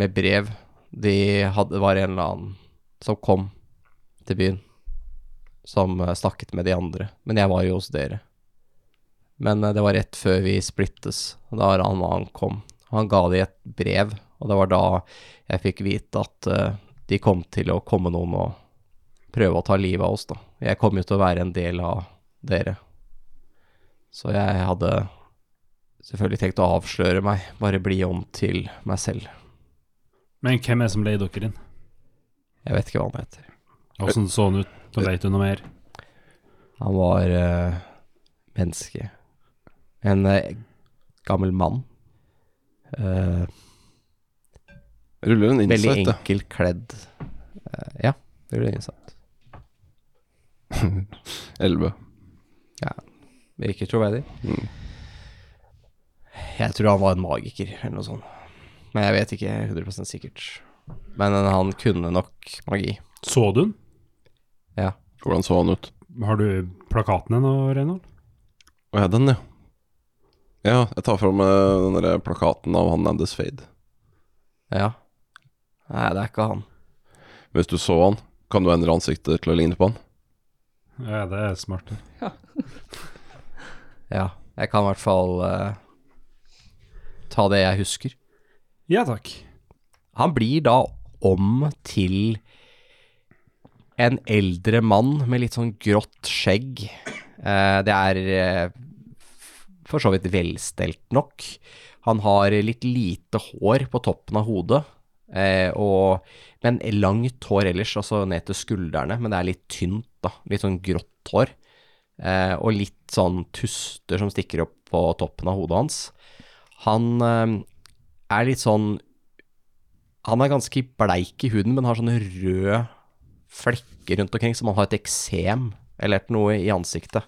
B: med brev. De hadde, det var en eller annen som kom til byen, som eh, snakket med de andre. Men jeg var jo hos dere. Men eh, det var rett før vi splittes, og da han han kom. Han ga de et brev, og det var da jeg fikk vite at eh, de kom til å komme noen og prøve å ta livet av oss, da. Jeg kom jo til å være en del av dere. Så jeg hadde selvfølgelig tenkt å avsløre meg, bare bli om til meg selv.
C: Men hvem er det som leide dere inn?
B: Jeg vet ikke hva han heter.
C: Åssen så han ut? Da vet du noe mer.
B: Han var eh, menneske. En eh, gammel mann. Eh,
A: Ruller en
B: veldig
A: insight, da.
B: enkelt kledd. Eh, ja, det blir innsatt.
A: 11.
B: Virker troverdig.
A: Mm.
B: Jeg tror han var en magiker, eller noe sånt. Men jeg vet ikke 100 sikkert. Men eh, han kunne nok magi.
C: Så du den?
A: Hvordan så han ut?
C: Har du plakaten ennå, Reynold?
A: Å ja, den, ja. Ja, jeg tar fram eh, den der plakaten av han Andes Fade.
B: Ja. Nei, det er ikke han.
A: Hvis du så han, kan du endre ansiktet til å ligne på han?
C: Ja, det er smart.
B: Ja, jeg kan i hvert fall eh, ta det jeg husker.
C: Ja takk.
B: Han blir da om til en eldre mann med litt sånn grått skjegg. Eh, det er eh, for så vidt velstelt nok. Han har litt lite hår på toppen av hodet, eh, og, men langt hår ellers, altså ned til skuldrene, men det er litt tynt da, litt sånn grått hår, eh, og litt sånn tuster som stikker opp på toppen av hodet hans. Han eh, er litt sånn han er ganske bleik i huden, men har sånne røde flekker rundt omkring, som han har et eksem eller et noe i ansiktet.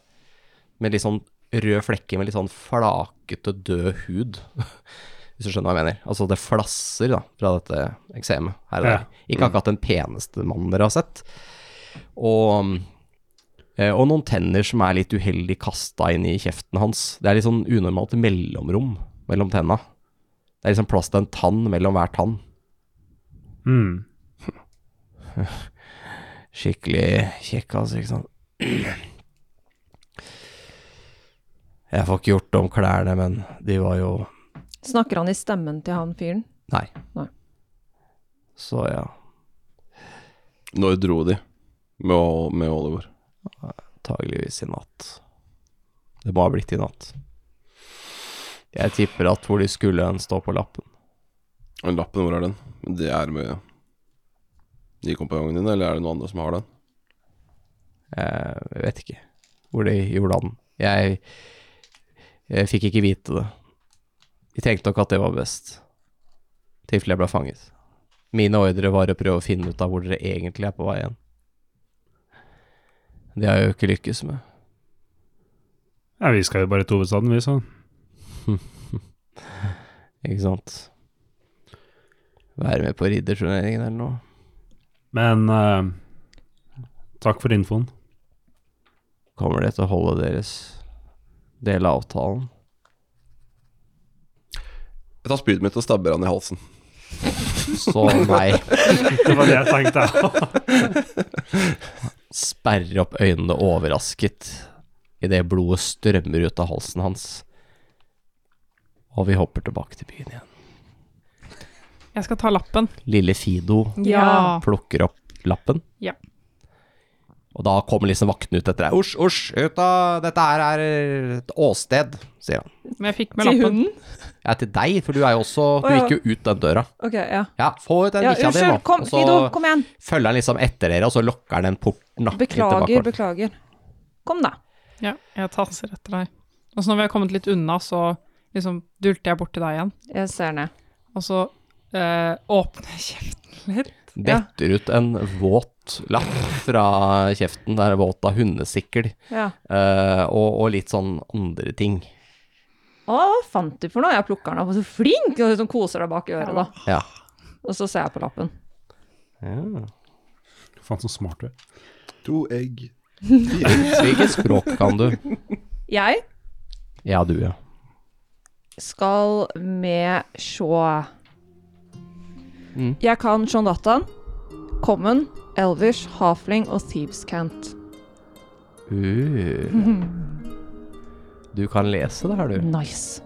B: Med litt sånn røde flekker med litt sånn flakete, død hud. Hvis du skjønner hva jeg mener. Altså, det flasser da, fra dette eksemet her og der. Ikke akkurat den peneste mannen dere har sett. Og, eh, og noen tenner som er litt uheldig kasta inn i kjeften hans. Det er litt sånn unormalt mellomrom mellom tenna. Det er liksom plass til en tann mellom hver tann.
C: Mm.
B: altså, skikkelig kjekkas, ikke sant. Jeg får ikke gjort om klærne, men de var jo
E: Snakker han i stemmen til han fyren?
B: Nei.
E: Nei.
B: Så ja,
A: Når dro de med, O- med Oliver?
B: antageligvis i natt. Det må ha blitt i natt. Jeg tipper at hvor de skulle hen, står på lappen.
A: Og lappen, hvor er den? Det er med de kompanjongene dine, eller er det noen andre som har den?
B: Jeg vet ikke hvor de gjorde av den. Jeg, jeg fikk ikke vite det. De tenkte nok at det var best, i tilfelle jeg ble fanget. Mine ordre var å prøve å finne ut av hvor dere egentlig er på vei hen. Det har jeg jo ikke lykkes med.
C: Ja, vi skal jo bare til hovedstaden, vi, så.
B: Ikke sant? Være med på ridderturneringen eller noe.
C: Men eh, takk for infoen.
B: Kommer det til å holde deres del av avtalen?
A: Jeg tar spydet mitt og stabber han i halsen.
B: Så nei.
C: Det var det jeg tenkte.
B: Sperrer opp øynene overrasket idet blodet strømmer ut av halsen hans. Og vi hopper tilbake til byen igjen.
D: Jeg skal ta lappen.
B: Lille Fido
D: Ja.
B: plukker opp lappen.
D: Ja.
B: Og da kommer liksom vaktene ut etter deg. Osj, osj, ut av Dette her er et åsted, sier han.
D: Men jeg fikk med
E: Til
D: lappen.
E: hunden?
B: Ja, til deg, for du er jo også Du
E: Å, ja.
B: gikk jo ut den døra.
E: Ok, ja.
B: Ja, få ut den
E: ja
B: bikkja di, nå.
E: unnskyld, kom,
B: Og så
E: Fido, kom igjen.
B: følger han liksom etter dere, og så lukker han den porten. da, inn til
E: Beklager,
B: bakgården.
E: beklager. Kom, da.
D: Ja, jeg tasser etter deg. Og så når vi har kommet litt unna, så liksom dulter jeg bort til deg igjen.
E: Jeg ser ned.
D: Og så eh, åpner jeg kjeften litt.
B: Detter ut en våt lapp fra kjeften. Det er våt av hundesikkel.
E: Ja.
B: eh, og, og litt sånn andre ting.
E: Å, hva fant du for noe? Jeg plukker den opp, og så flink! Og liksom koser deg bak i øret, da.
B: Ja.
E: Og så ser jeg på lappen.
C: Faen, så smart du er.
A: To egg.
B: Så hvilket språk kan du?
E: Jeg
B: Ja, du, ja.
E: skal med sjå
B: Mm.
E: Jeg kan Shondatan, Common, Elvish, Halfling og Thieves Cant.
B: Uh. Du kan lese det her, du.
E: Nice.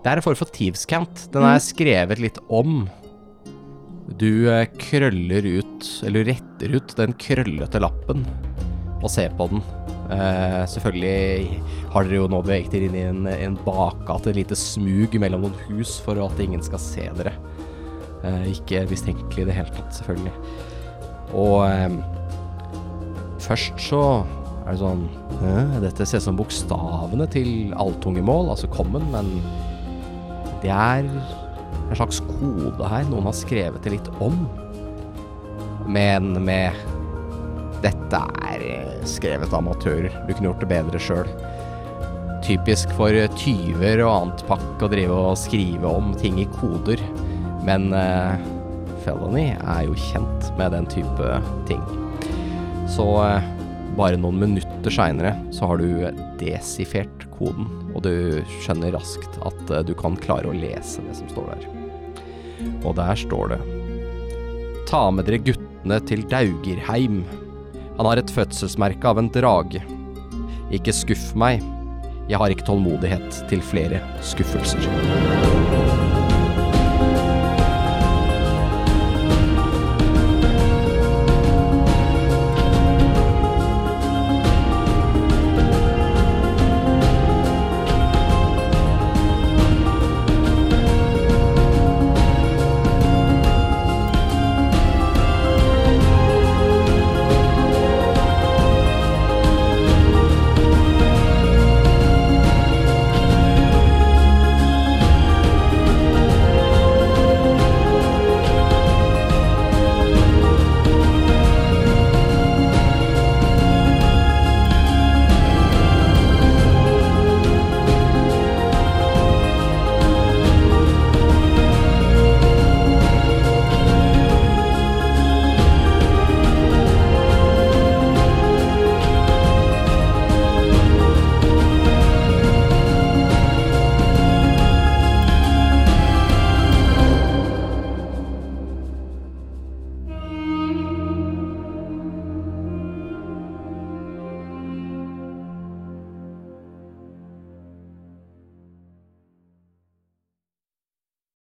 B: Det er en form for thieves-cant. Den er skrevet litt om. Du eh, krøller ut, eller retter ut, den krøllete lappen og ser på den. Eh, selvfølgelig har dere jo nå beveget dere inn i en, en bakgate, et lite smug mellom noen hus for at ingen skal se dere. Eh, ikke mistenkelig i det hele tatt, selvfølgelig. Og eh, først så er det sånn «Hæ, Dette ser ut som bokstavene til alltungemål, altså common, men det er en slags kode her. Noen har skrevet det litt om. Men med Dette er eh, skrevet av amatører. Du kunne gjort det bedre sjøl. Typisk for eh, tyver og annet pakk å drive og skrive om ting i koder. Men eh, Felony er jo kjent med den type ting. Så eh, bare noen minutter seinere så har du desifert koden, og du skjønner raskt at eh, du kan klare å lese det som står der. Og der står det Ta med dere guttene til Daugerheim. Han har et fødselsmerke av en drage. Ikke skuff meg. Jeg har ikke tålmodighet til flere skuffelser.